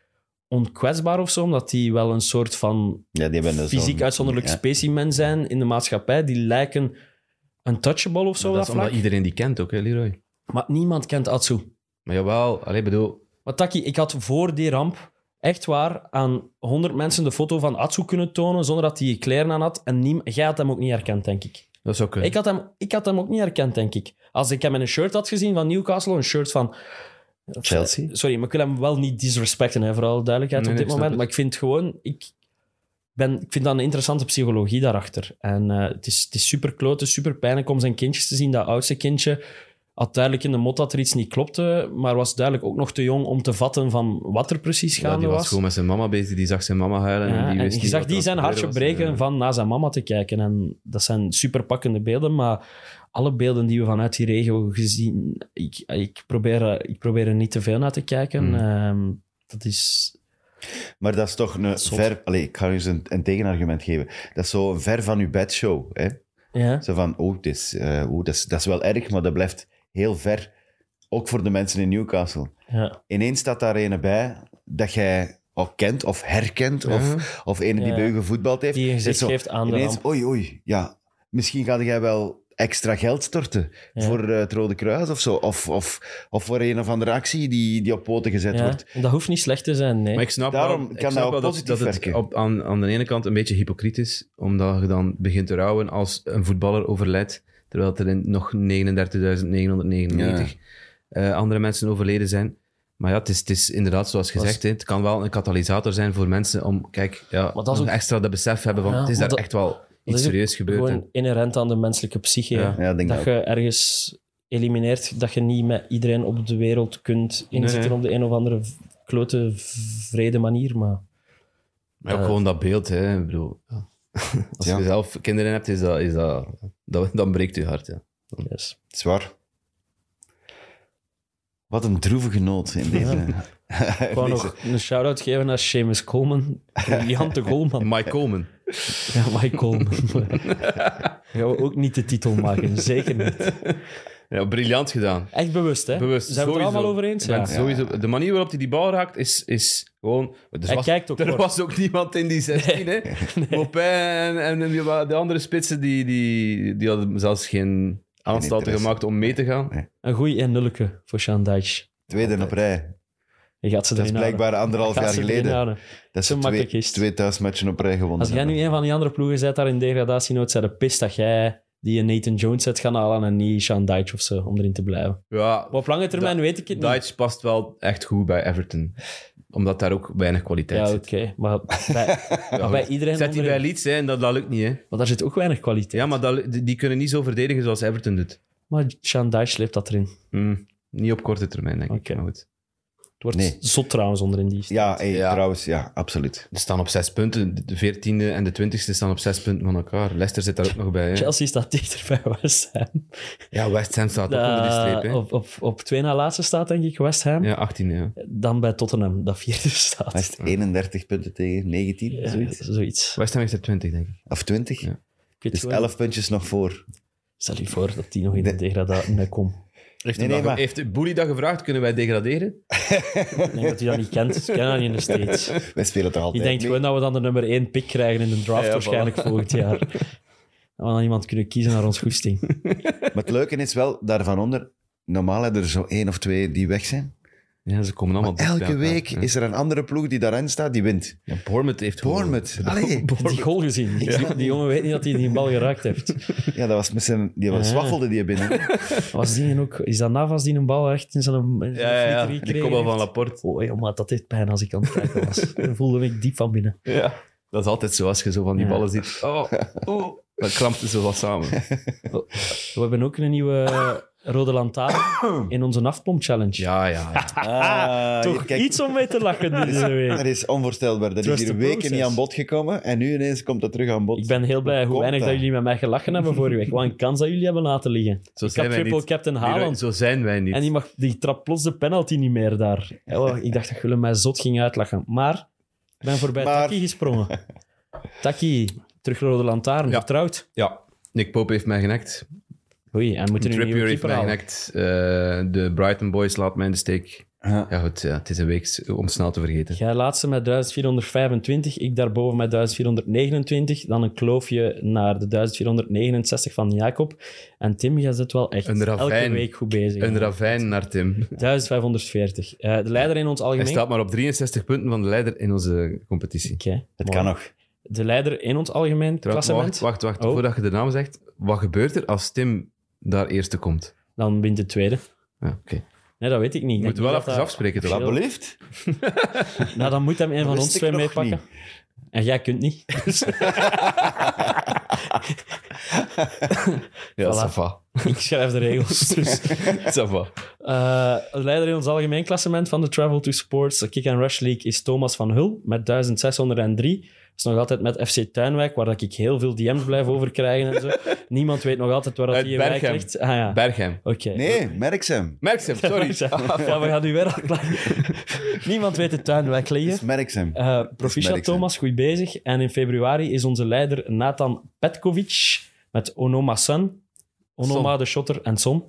D: onkwetsbaar of zo, omdat die wel een soort van
B: Ja, die hebben dus
D: fysiek
B: zo'n-
D: uitzonderlijk
B: ja. specimen
D: specimen zijn in de maatschappij. Die lijken een touchable of zo.
C: Maar dat is
D: op dat
C: omdat
D: vlak.
C: iedereen die kent ook, hè, Leroy.
D: Maar niemand kent Atsu.
C: Maar jawel, allee, bedoel...
D: Maar Taki, ik had voor die ramp echt waar aan 100 mensen de foto van Atsu kunnen tonen zonder dat hij kleren aan had. En niem- jij had hem ook niet herkend, denk ik.
C: Dat eh, zou kunnen.
D: Ik had, hem, ik had hem ook niet herkend, denk ik. Als ik hem in een shirt had gezien van Newcastle, een shirt van...
B: Chelsea.
D: Sorry, maar ik wil hem wel niet disrespecten, hè, voor alle duidelijkheid
C: Nee,
D: op
C: nee,
D: dit
C: ik snap
D: moment.
C: het.
D: Maar ik vind gewoon... Ik, ben, ik vind dat een interessante psychologie daarachter. En eh, het is, het is super kloten, super pijnlijk om zijn kindjes te zien. Dat oudste kindje had duidelijk in de mot dat er iets niet klopte, maar was duidelijk ook nog te jong om te vatten van wat er precies
C: Ja,
D: gaande
C: die was,
D: was.
C: gewoon met zijn mama bezig. Die zag zijn mama huilen.
D: Ja,
C: en Eh, die
D: en
C: wist
D: je
C: niet
D: zag
C: wat er
D: die
C: aan
D: zijn
C: het
D: hartje
C: gebeuren was.
D: breken
C: Ja.
D: van naar zijn mama te kijken. En dat zijn superpakkende beelden, maar alle beelden die we vanuit die regio gezien... Ik, ik, probeer, er- ik probeer er niet te veel naar te kijken.
C: Mm.
D: Ehm, dat is...
B: Maar dat is toch een
D: Zot.
B: ver... Allee, ik ga u eens een, een tegenargument geven. Dat is zo'n ver van uw bed show. Hè?
D: Ja.
B: Zo van, oh, dit is, eh, oeh, dat, is, dat is wel erg, maar dat blijft heel ver. Ook voor de mensen in Newcastle.
D: ja.
B: Ineens staat daar een bij dat jij al kent of herkent, of, of een die
D: Ja.
B: bij u gevoetbald heeft.
D: Die een
B: Het is
D: gezicht
B: zo,
D: geeft aan de
B: ineens,
D: ramp.
B: oei, oei, ja, misschien ga jij wel extra geld storten
D: Ja.
B: voor eh, het Rode Kruis of zo. Of, of, of voor een of andere actie die, die op poten gezet
D: Ja.
B: wordt.
D: En dat hoeft niet slecht te zijn, nee.
C: Maar ik snap
B: Daarom
C: wel,
B: kan
C: ik
B: dat
C: snap
B: ook
C: wel dat,
B: positief
C: dat het
B: werken.
C: op, aan, aan de ene kant een beetje hypocriet is, omdat je dan begint te rouwen als een voetballer overlijdt, terwijl er in nog 39.999 eh, andere mensen overleden zijn. Maar ja, het is, het is inderdaad zoals gezegd, hè, het kan wel een katalysator zijn voor mensen om, kijk, ja,
D: Maar dat is
C: nog
D: ook-
C: extra dat besef hebben van,
D: Ja,
C: het is
D: maar
C: daar
D: dat-
C: echt wel
D: is
C: iets
D: ook
C: serieus gebeurd.
D: Gewoon
C: en-
D: inherent aan de menselijke psyche.
C: Ja.
D: hè.
B: Ja, ik denk
D: dat
B: dat
D: je ergens elimineert dat je niet met iedereen op de wereld kunt inzitten
C: Nee, nee.
D: op de een of andere v- klote v- vrede manier. Maar
C: Maar ook
D: Eh.
C: gewoon dat beeld, hè. Ik bedoel, ja. Als
B: Ja.
C: je zelf kinderen hebt, is dat, is dat, dat, dan breekt je hart, ja.
D: yes.
B: Het is waar. Wat een droevige noot in deze...
D: Ik wou nog een shout-out geven naar Seamus Coleman. Briljante goalman.
C: Mike Coleman.
D: Ja, Mike Coleman. Gaan we ook niet de titel maken. Zeker niet.
C: Ja, briljant gedaan.
D: Echt bewust, hè?
C: Bewust.
D: Zijn we het er
C: sowieso.
D: allemaal over eens?
C: Ik ben
D: Ja.
C: het Sowieso, de manier waarop hij die bal raakt is, is gewoon. Er,
D: Hij
C: was,
D: kijkt ook
C: er
D: kort.
C: was ook niemand in die 16. hè. Maupin en, en die- de andere spitsen die, die, die hadden zelfs geen aanstalten
B: interesse.
C: gemaakt om mee te gaan.
D: Een goeie en nulleke voor Sean Dyche.
B: Tweede op rij.
D: Je gaat ze
B: Dat is
D: erin houden.
B: blijkbaar anderhalf
D: Gaat
B: jaar
D: ze erin
B: geleden.
D: houden.
B: Dat
D: Zo
B: ze
D: makkelijk
B: twee,
D: is het.
B: twee thuismatchen op rij gewonnen
D: Als jij nu
B: hebben.
D: een van die andere ploegen zet daar in degradatienood, zijn de pist dat jij die een Nathan Jones zet gaan halen en niet Sean Dyche of zo, om erin te blijven.
C: Ja,
D: Maar op lange termijn
C: Da-
D: weet ik het niet.
C: Dyche past wel echt goed bij Everton. Omdat daar ook weinig kwaliteit
D: Ja, oké.
C: zit.
D: Maar bij, maar bij iedereen
C: Zet die
D: onderin-
C: bij Leeds, hè, en dat, dat lukt niet. Hè.
D: Maar daar zit ook weinig kwaliteit.
C: Ja, maar dat, die die kunnen niet zo verdedigen zoals Everton doet.
D: Maar Sean Dyche sleept dat erin.
C: Hm, niet op korte termijn, denk
D: Oké.
C: ik. Maar goed.
D: Het wordt
B: Nee.
D: zot trouwens onderin die stand.
B: Ja, hey,
C: Ja.
B: trouwens, ja, absoluut.
C: Ze staan op zes punten. De veertiende en de twintigste staan op zes punten van elkaar. Leicester zit daar ook nog bij. Hè?
D: Chelsea staat dichter bij West Ham.
C: Ja, West Ham staat ook onder die
D: Eh,
C: streep. Hè?
D: op, op, op twee na laatste staat denk ik West Ham.
C: Ja, achttiende. Ja.
D: Dan bij Tottenham, dat vierde staat.
B: Hij heeft 31 punten tegen 19,
D: Ja,
B: zoiets.
D: zoiets.
C: West Ham heeft er twintig, denk ik.
B: Of 20.
C: Ja.
D: Ik weet
B: Dus
D: gewoon-
B: 11 puntjes nog voor.
D: Stel je voor dat die nog in de degradatie komt.
C: Heeft,
B: Nee,
C: nee,
B: nee, maar-
C: heeft Boeli dat gevraagd? Kunnen wij degraderen?
D: Ik denk dat hij dat niet kent. Ik ken dat niet nog steeds. Die
B: Wij spelen toch altijd
D: denkt
B: mee?
D: gewoon dat we dan de nummer één pick krijgen in de draft
C: Ja, ja,
D: waarschijnlijk volgend jaar. Dat we dan iemand kunnen kiezen naar ons goesting.
B: Maar het leuke is wel, daarvan onder, normaal hebben er zo één of twee die weg zijn.
C: Ja, ze komen allemaal dicht bij
B: Elke
C: elkaar.
B: week
C: Ja.
B: is er een andere ploeg die daarin staat, die wint.
C: Ja, Bournemouth heeft gewonnen.
B: Bournemouth. Allee.
D: Die goal gezien. Die, die jongen weet niet dat hij die bal geraakt heeft.
B: Ja, dat was met zijn... Die was
D: Ja.
B: zwaffelde die binnen.
D: Was die ook, is dat Navas die een bal echt in zijn, in zijn
C: Ja, ja,
D: flieter
C: ja. Die
D: gekregen
C: komt wel van
D: heeft?
C: Laporte.
D: Oh ja, maar dat deed pijn als ik aan het kijken was. Dan voelde ik diep van binnen.
C: Ja. Dat is altijd zo, als je zo van die
D: Ja.
C: ballen ziet. Oh, oh. Dan krampt het zo wat samen.
D: We hebben ook een nieuwe eh, rode lantaarn in onze afpomp-challenge.
C: Ja, ja. ja.
B: Ah,
D: Toch
B: hier, kijk.
D: iets om mee te lachen deze week.
B: Dat is onvoorstelbaar. Dat
D: Trust
B: is hier
D: the
B: weken
D: process.
B: niet aan bod gekomen en nu ineens komt dat terug aan bod.
D: Ik ben heel blij hoe
B: komt
D: weinig
B: dat?
D: dat jullie met mij gelachen hebben vorige week. Wat een kans dat jullie hebben laten liggen.
C: Zo
D: ik had
C: zijn wij
D: triple
C: niet.
D: captain
C: Leroy,
D: Haaland.
C: Zo zijn wij niet.
D: En die, mag, die trapt plots de penalty niet meer daar. Oh, ik dacht dat jullie mij zot gingen uitlachen. Maar ik ben voorbij
B: Maar-
D: Taki gesprongen. Taki, terug naar Rode Lantaarn,
C: Ja.
D: vertrouwd.
C: Ja, Nick Pope heeft mij genekt.
D: Oei, en moeten nu een
C: Trippier
D: nieuwe
C: heeft
D: keeper
C: mij
D: halen.
C: genekt. Eh, de Brighton Boys laat mij in de steek.
B: Ja.
C: Ja, goed, ja, het is een week om snel te vergeten.
D: Jij laatste met 1425, ik daarboven met 1429. Dan een kloofje naar de 1469 van Jacob. En Tim, jij zit wel echt
C: Een
D: elke
C: ravijn.
D: week goed bezig.
C: Een ravijn naar Tim.
D: 1540. Eh, de leider in ons
C: Hij
D: algemeen.
C: staat maar op 63 punten van de leider in onze competitie.
D: Oké,
B: Het
D: mooi.
B: kan nog.
D: De leider in ons algemeen
C: Trouwens,
D: klassement.
C: wacht, wacht, wacht.
D: Oh.
C: Voordat je de naam zegt, wat gebeurt er als Tim daar eerste komt?
D: Dan wint de tweede.
C: Ja, oké.
D: Nee, dat weet ik niet.
C: Je
D: Ik
C: moet
D: denk
C: wel
D: niet dat
C: even
D: dat-
C: afspreken, toch?
B: Dat beleefd.
D: Nou, dan moet hem een van
B: wist
D: ons
B: ik
D: twee
B: nog
D: meepakken.
B: niet.
D: En jij kunt niet.
C: Ja,
D: Voilà.
C: ça va.
D: Ik schrijf de regels. Dus.
C: Ça va.
D: Eh, leider in ons algemeen klassement van de Travel to Sports de Kick and Rush League is Thomas van Hul met 1603. Dat is nog altijd met FC Tuinwijk, waar dat ik heel veel DM's blijf over krijgen en zo. Niemand weet nog altijd waar dat
C: Uit
D: die in wijk
C: Berchem.
D: ligt. Ah ja,
C: Berghem.
D: oké.
B: Nee, Merksem.
C: Merksem, sorry.
D: ja, we gaan nu weer al klaar. Niemand weet de Tuinwijk liggen.
B: Merksem.
D: Eh, proficiat
B: merk, hè.
D: Thomas, goed bezig. En in februari is onze leider Nathan Petkovic met Onoma Sun, Onoma
C: Son.
D: de Shotter en Son.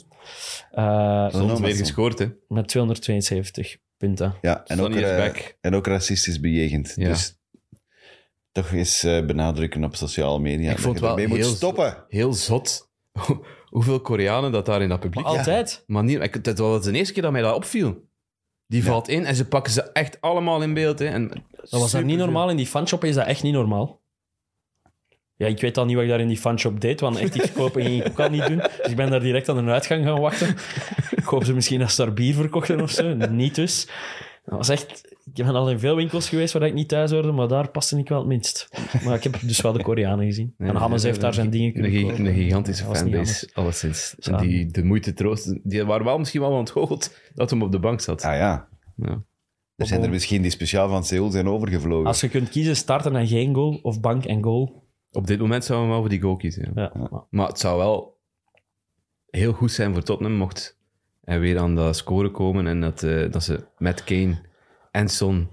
D: Eh,
C: Soms weer gescoord, hè.
D: met 272 punten.
B: Ja, en ook,
C: Sonny is
B: eh,
C: back.
B: en ook racistisch bejegend.
C: Ja.
B: Dus toch eens eh, benadrukken op sociale media.
C: Ik
B: dat
C: vond
B: je
C: wel
B: ermee
C: heel-
B: moet stoppen.
C: Heel zot. Hoeveel Koreanen dat daar in dat
D: Maar
C: publiek
D: altijd.
C: Maar niet, ik, dat was de eerste keer dat mij dat opviel. Die valt in en ze pakken ze echt allemaal in beeld. Hè. En
D: Dat was dat niet normaal. In die fanshop is dat echt niet normaal. Ja, ik weet al niet wat ik daar in die fanshop deed, want echt iets kopen ging ik ook al niet doen. Dus ik ben daar direct aan een uitgang gaan wachten. Ik hoop ze misschien als ze daar bier verkochten of zo. Niet dus. Dat was echt... Ik ben al in veel winkels geweest waar ik niet thuis hoorde, maar daar paste ik wel het minst. Maar ik heb dus wel de Koreanen gezien.
C: Ja,
D: en Hammes
C: ja,
D: heeft
C: ja,
D: daar zijn dingen
C: Een,
D: kunnen
C: gig-
D: kopen.
C: een gigantische
D: Dat was niet
C: fanbase, alleszins. En
D: Ja.
C: die de moeite troosten. Die waren wel misschien wel ontgoocheld dat hem op de bank zat.
B: Ah ja.
C: Ja.
B: Er zijn er misschien die speciaal van Seoul zijn overgevlogen.
D: Als je kunt kiezen, starten en geen goal, of bank en goal.
C: Op dit moment zouden we wel voor die goal kiezen. ja.
D: Ja, maar
C: Maar het zou wel heel goed zijn voor Tottenham mocht hij weer aan dat scoren komen en dat, eh, dat ze met Kane en Son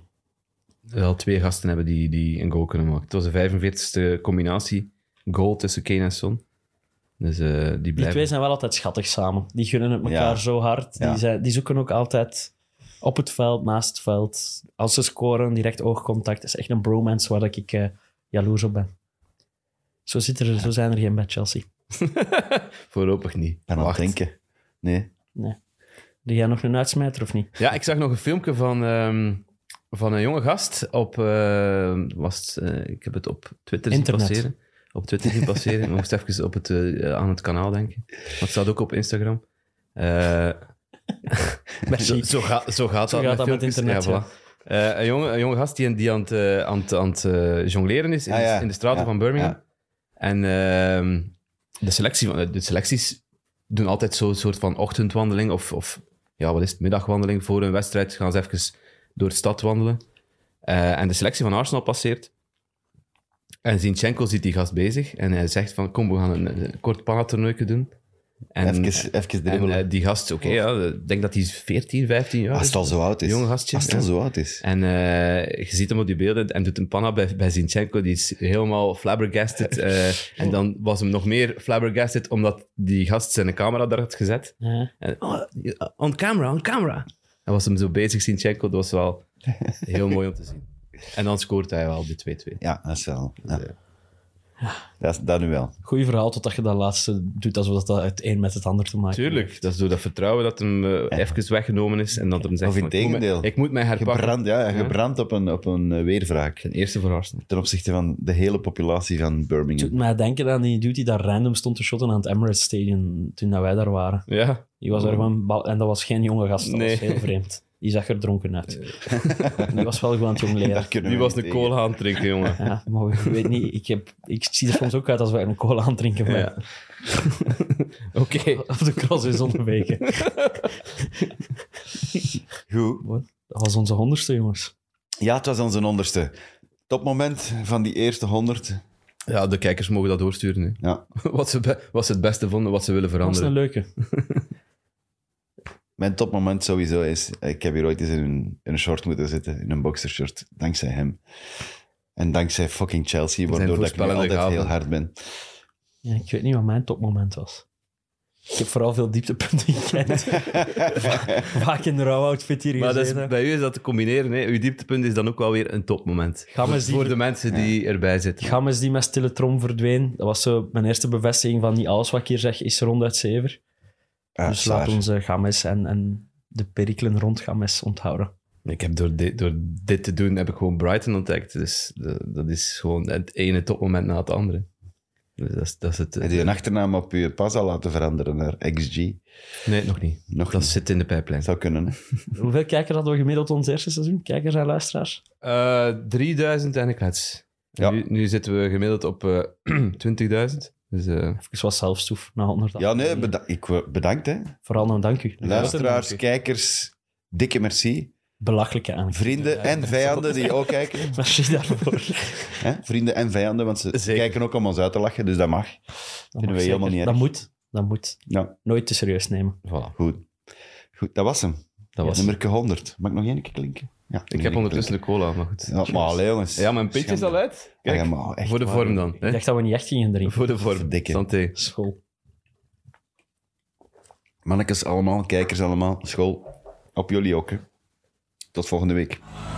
C: wel twee gasten hebben die, die een goal kunnen maken. Het was de 45ste combinatie goal tussen Kane en Son. Dus eh, die
D: Die
C: blijven...
D: twee zijn wel altijd schattig samen. Die gunnen het elkaar
B: Ja.
D: zo hard.
B: Ja.
D: Die, zijn, die zoeken ook altijd op het veld, naast het veld. Als ze scoren, direct oogcontact. Dat is echt een bromance waar dat ik eh, jaloers op ben. Zo, zit er, zo zijn er geen bij Chelsea.
C: Voorlopig niet.
B: Ik ben aan het
C: Wacht.
B: denken. Nee.
D: Die jij nog een uitsmijter of niet?
C: Ja, ik zag nog een filmpje van, ehm, van een jonge gast op... ehm, was het, eh, ik heb het op Twitter zien
D: Internet.
C: passeren. Op Twitter zien passeren. Ik moest even op het, eh, aan het kanaal denken. Maar het staat ook op Instagram. Eh, zo, zo, gaat, zo gaat
D: Zo
C: dat
D: gaat dat met
C: filmpjes.
D: internet, ja.
C: voilà. Eh, een, jonge, een jonge gast die, die aan het, eh, aan het, aan het eh, jongleren is in,
B: Ah,
C: de-
B: ja.
C: in de straten
B: Ja,
C: van Birmingham.
B: ja.
C: En ehm, de, selectie van, de selecties doen altijd zo'n soort van ochtendwandeling of, of ja, wat is het, middagwandeling voor een wedstrijd. Gaan ze even door de stad wandelen. Eh, en de selectie van Arsenal passeert. En Zinchenko ziet die gast bezig. En hij zegt van, kom, we gaan een, een kort pannatoernooitje doen. En,
B: Even, even
C: en
B: dribbelen.
C: eh, die gast, oké, ja, ik denk dat hij 14, 15 jaar
B: als
C: is.
B: het al zo oud is.
C: Jonge gastje,
B: Als het al
C: ja.
B: zo oud is.
C: En eh, je ziet hem op die beelden en doet een panna bij, bij Zinchenko. Die is helemaal flabbergasted. eh, en dan was hem nog meer flabbergasted omdat die gast zijn camera daar had gezet.
D: Ja.
C: En, oh, on camera, on camera. En was hem zo bezig, Zinchenko. Dat was wel heel mooi om te zien. En dan scoort hij wel de 2-2.
B: Ja, dat is wel. Ja.
C: Dus, eh,
B: Dat, is- dat nu wel.
D: Goeie verhaal, totdat je dat laatste doet alsof dat het een met het ander te maken
C: Tuurlijk, dat is door dat vertrouwen dat hem eh, even weggenomen is. En dat hem zegt:
B: Of in
C: van, ik moet mij-
B: tegendeel.
C: Ik moet mij herpakken.
B: Gebrand, ja,
C: Ja.
B: gebrand op een, op een eh, weerwraak.
C: Ten eerste voor Arsenal.
B: Ten opzichte van de hele populatie van
D: Het doet
B: Birmingham.
D: mij denken aan die dude die daar random stond te shotten aan het Emirates Stadium toen dat wij daar waren.
C: Ja,
D: Die was er gewoon bal- en dat was geen jonge gast, dat
C: Oh. Nee. Eh.
D: was heel vreemd. Die zag er dronken uit. Die was wel gewoon aan het jongleren.
B: Daar kunnen
C: die
B: we
C: was
B: niet
C: de
B: tegen.
C: cola aan het drinken, jongen.
D: Ja, maar ik weet niet, ik, heb, ik zie er soms ook uit als wij een cola aan het drinken zijn.
C: Ja. Oké.
D: Of de cross is onderweken.
B: Goed.
D: Dat was onze honderdste, jongens.
B: Ja, het was onze onderste. Topmoment van die eerste honderd.
C: Ja, de kijkers mogen dat doorsturen. hè.
B: Ja.
C: Wat, ze be- wat ze het beste vonden, wat ze willen
D: Dat was een
C: veranderen.
D: leuke.
B: Mijn topmoment sowieso is, ik heb hier ooit eens in een, in een short moeten zitten, in een boxershort, dankzij hem. En dankzij fucking Chelsea,
C: zijn
B: waardoor dat ik nu
C: voorspellende
B: altijd
C: gaven.
B: heel hard ben.
D: Ja, ik weet niet wat mijn topmoment was. Ik heb vooral veel dieptepunten gekend. Vaak in de rouwoutfit hier
C: Maar dat is,
D: gezeten.
C: bij u is dat te combineren. Hè. Uw dieptepunt is dan ook wel weer een topmoment.
D: Ga maar
C: Voor,
D: zien.
C: voor de mensen die erbij zitten.
D: Gammes die met stille trom verdween. Dat was zo mijn eerste bevestiging van niet alles wat ik hier zeg is ronduit zever.
B: Ja,
D: dus
B: Ah, zwaar.
D: laat onze Gammes en, en de perikelen rond Gammes onthouden.
C: Ik heb door, dit- door dit te doen, heb ik gewoon Brighton ontdekt. Dus de- dat is gewoon het ene topmoment na het andere. Dus dat is, dat is het...
B: Heb je een achternaam op je pas al laten veranderen naar XG?
C: Nee, nog niet.
B: Nog
C: Dat
B: niet.
C: zit in de pijplijn.
B: Zou kunnen. hè?
D: Hoeveel kijkers hadden we gemiddeld ons eerste seizoen? Kijkers en luisteraars?
C: Eh 3000 en ik klets.
B: Ja.
C: Nu, nu zitten we gemiddeld op eh 20.000. Dus, eh,
D: Even wat zelfstoef na 100
B: Ja, nee, beda- ik, eh, bedankt hè.
D: Vooral nog dank u.
B: Luisteraars, kijkers, dikke merci.
D: Belachelijke aan.
B: Vrienden en vijanden die ook kijken.
D: Merci daarvoor.
B: Hè? Vrienden en vijanden, want ze
C: Zeker.
B: kijken ook om ons uit te lachen, dus dat mag.
D: Dat,
B: we
D: mag
B: helemaal
D: zeker.
B: niet
D: dat
B: erg.
D: moet. Dat moet.
B: Ja.
D: Nooit te serieus nemen.
C: voilà,
B: Goed. Goed, dat was hem.
C: dat was
B: Nummer 100. Mag ik nog één keer klinken? Ja, nog één
C: Ik
B: keer
C: heb ondertussen
B: klinken.
C: de cola, maar goed.
B: Ja, maar allee, jongens.
C: Ja, mijn pitje is al uit.
B: Kijk,
C: Kijk,
B: maar echt.
C: voor de vorm dan.
D: Ik
C: Hè?
D: dacht dat we niet echt gingen drinken.
C: Voor de vorm.
B: Verdikke.
C: Santé.
D: School.
B: Mannekes allemaal, kijkers allemaal, school. Op jullie ook, hè. Tot volgende week.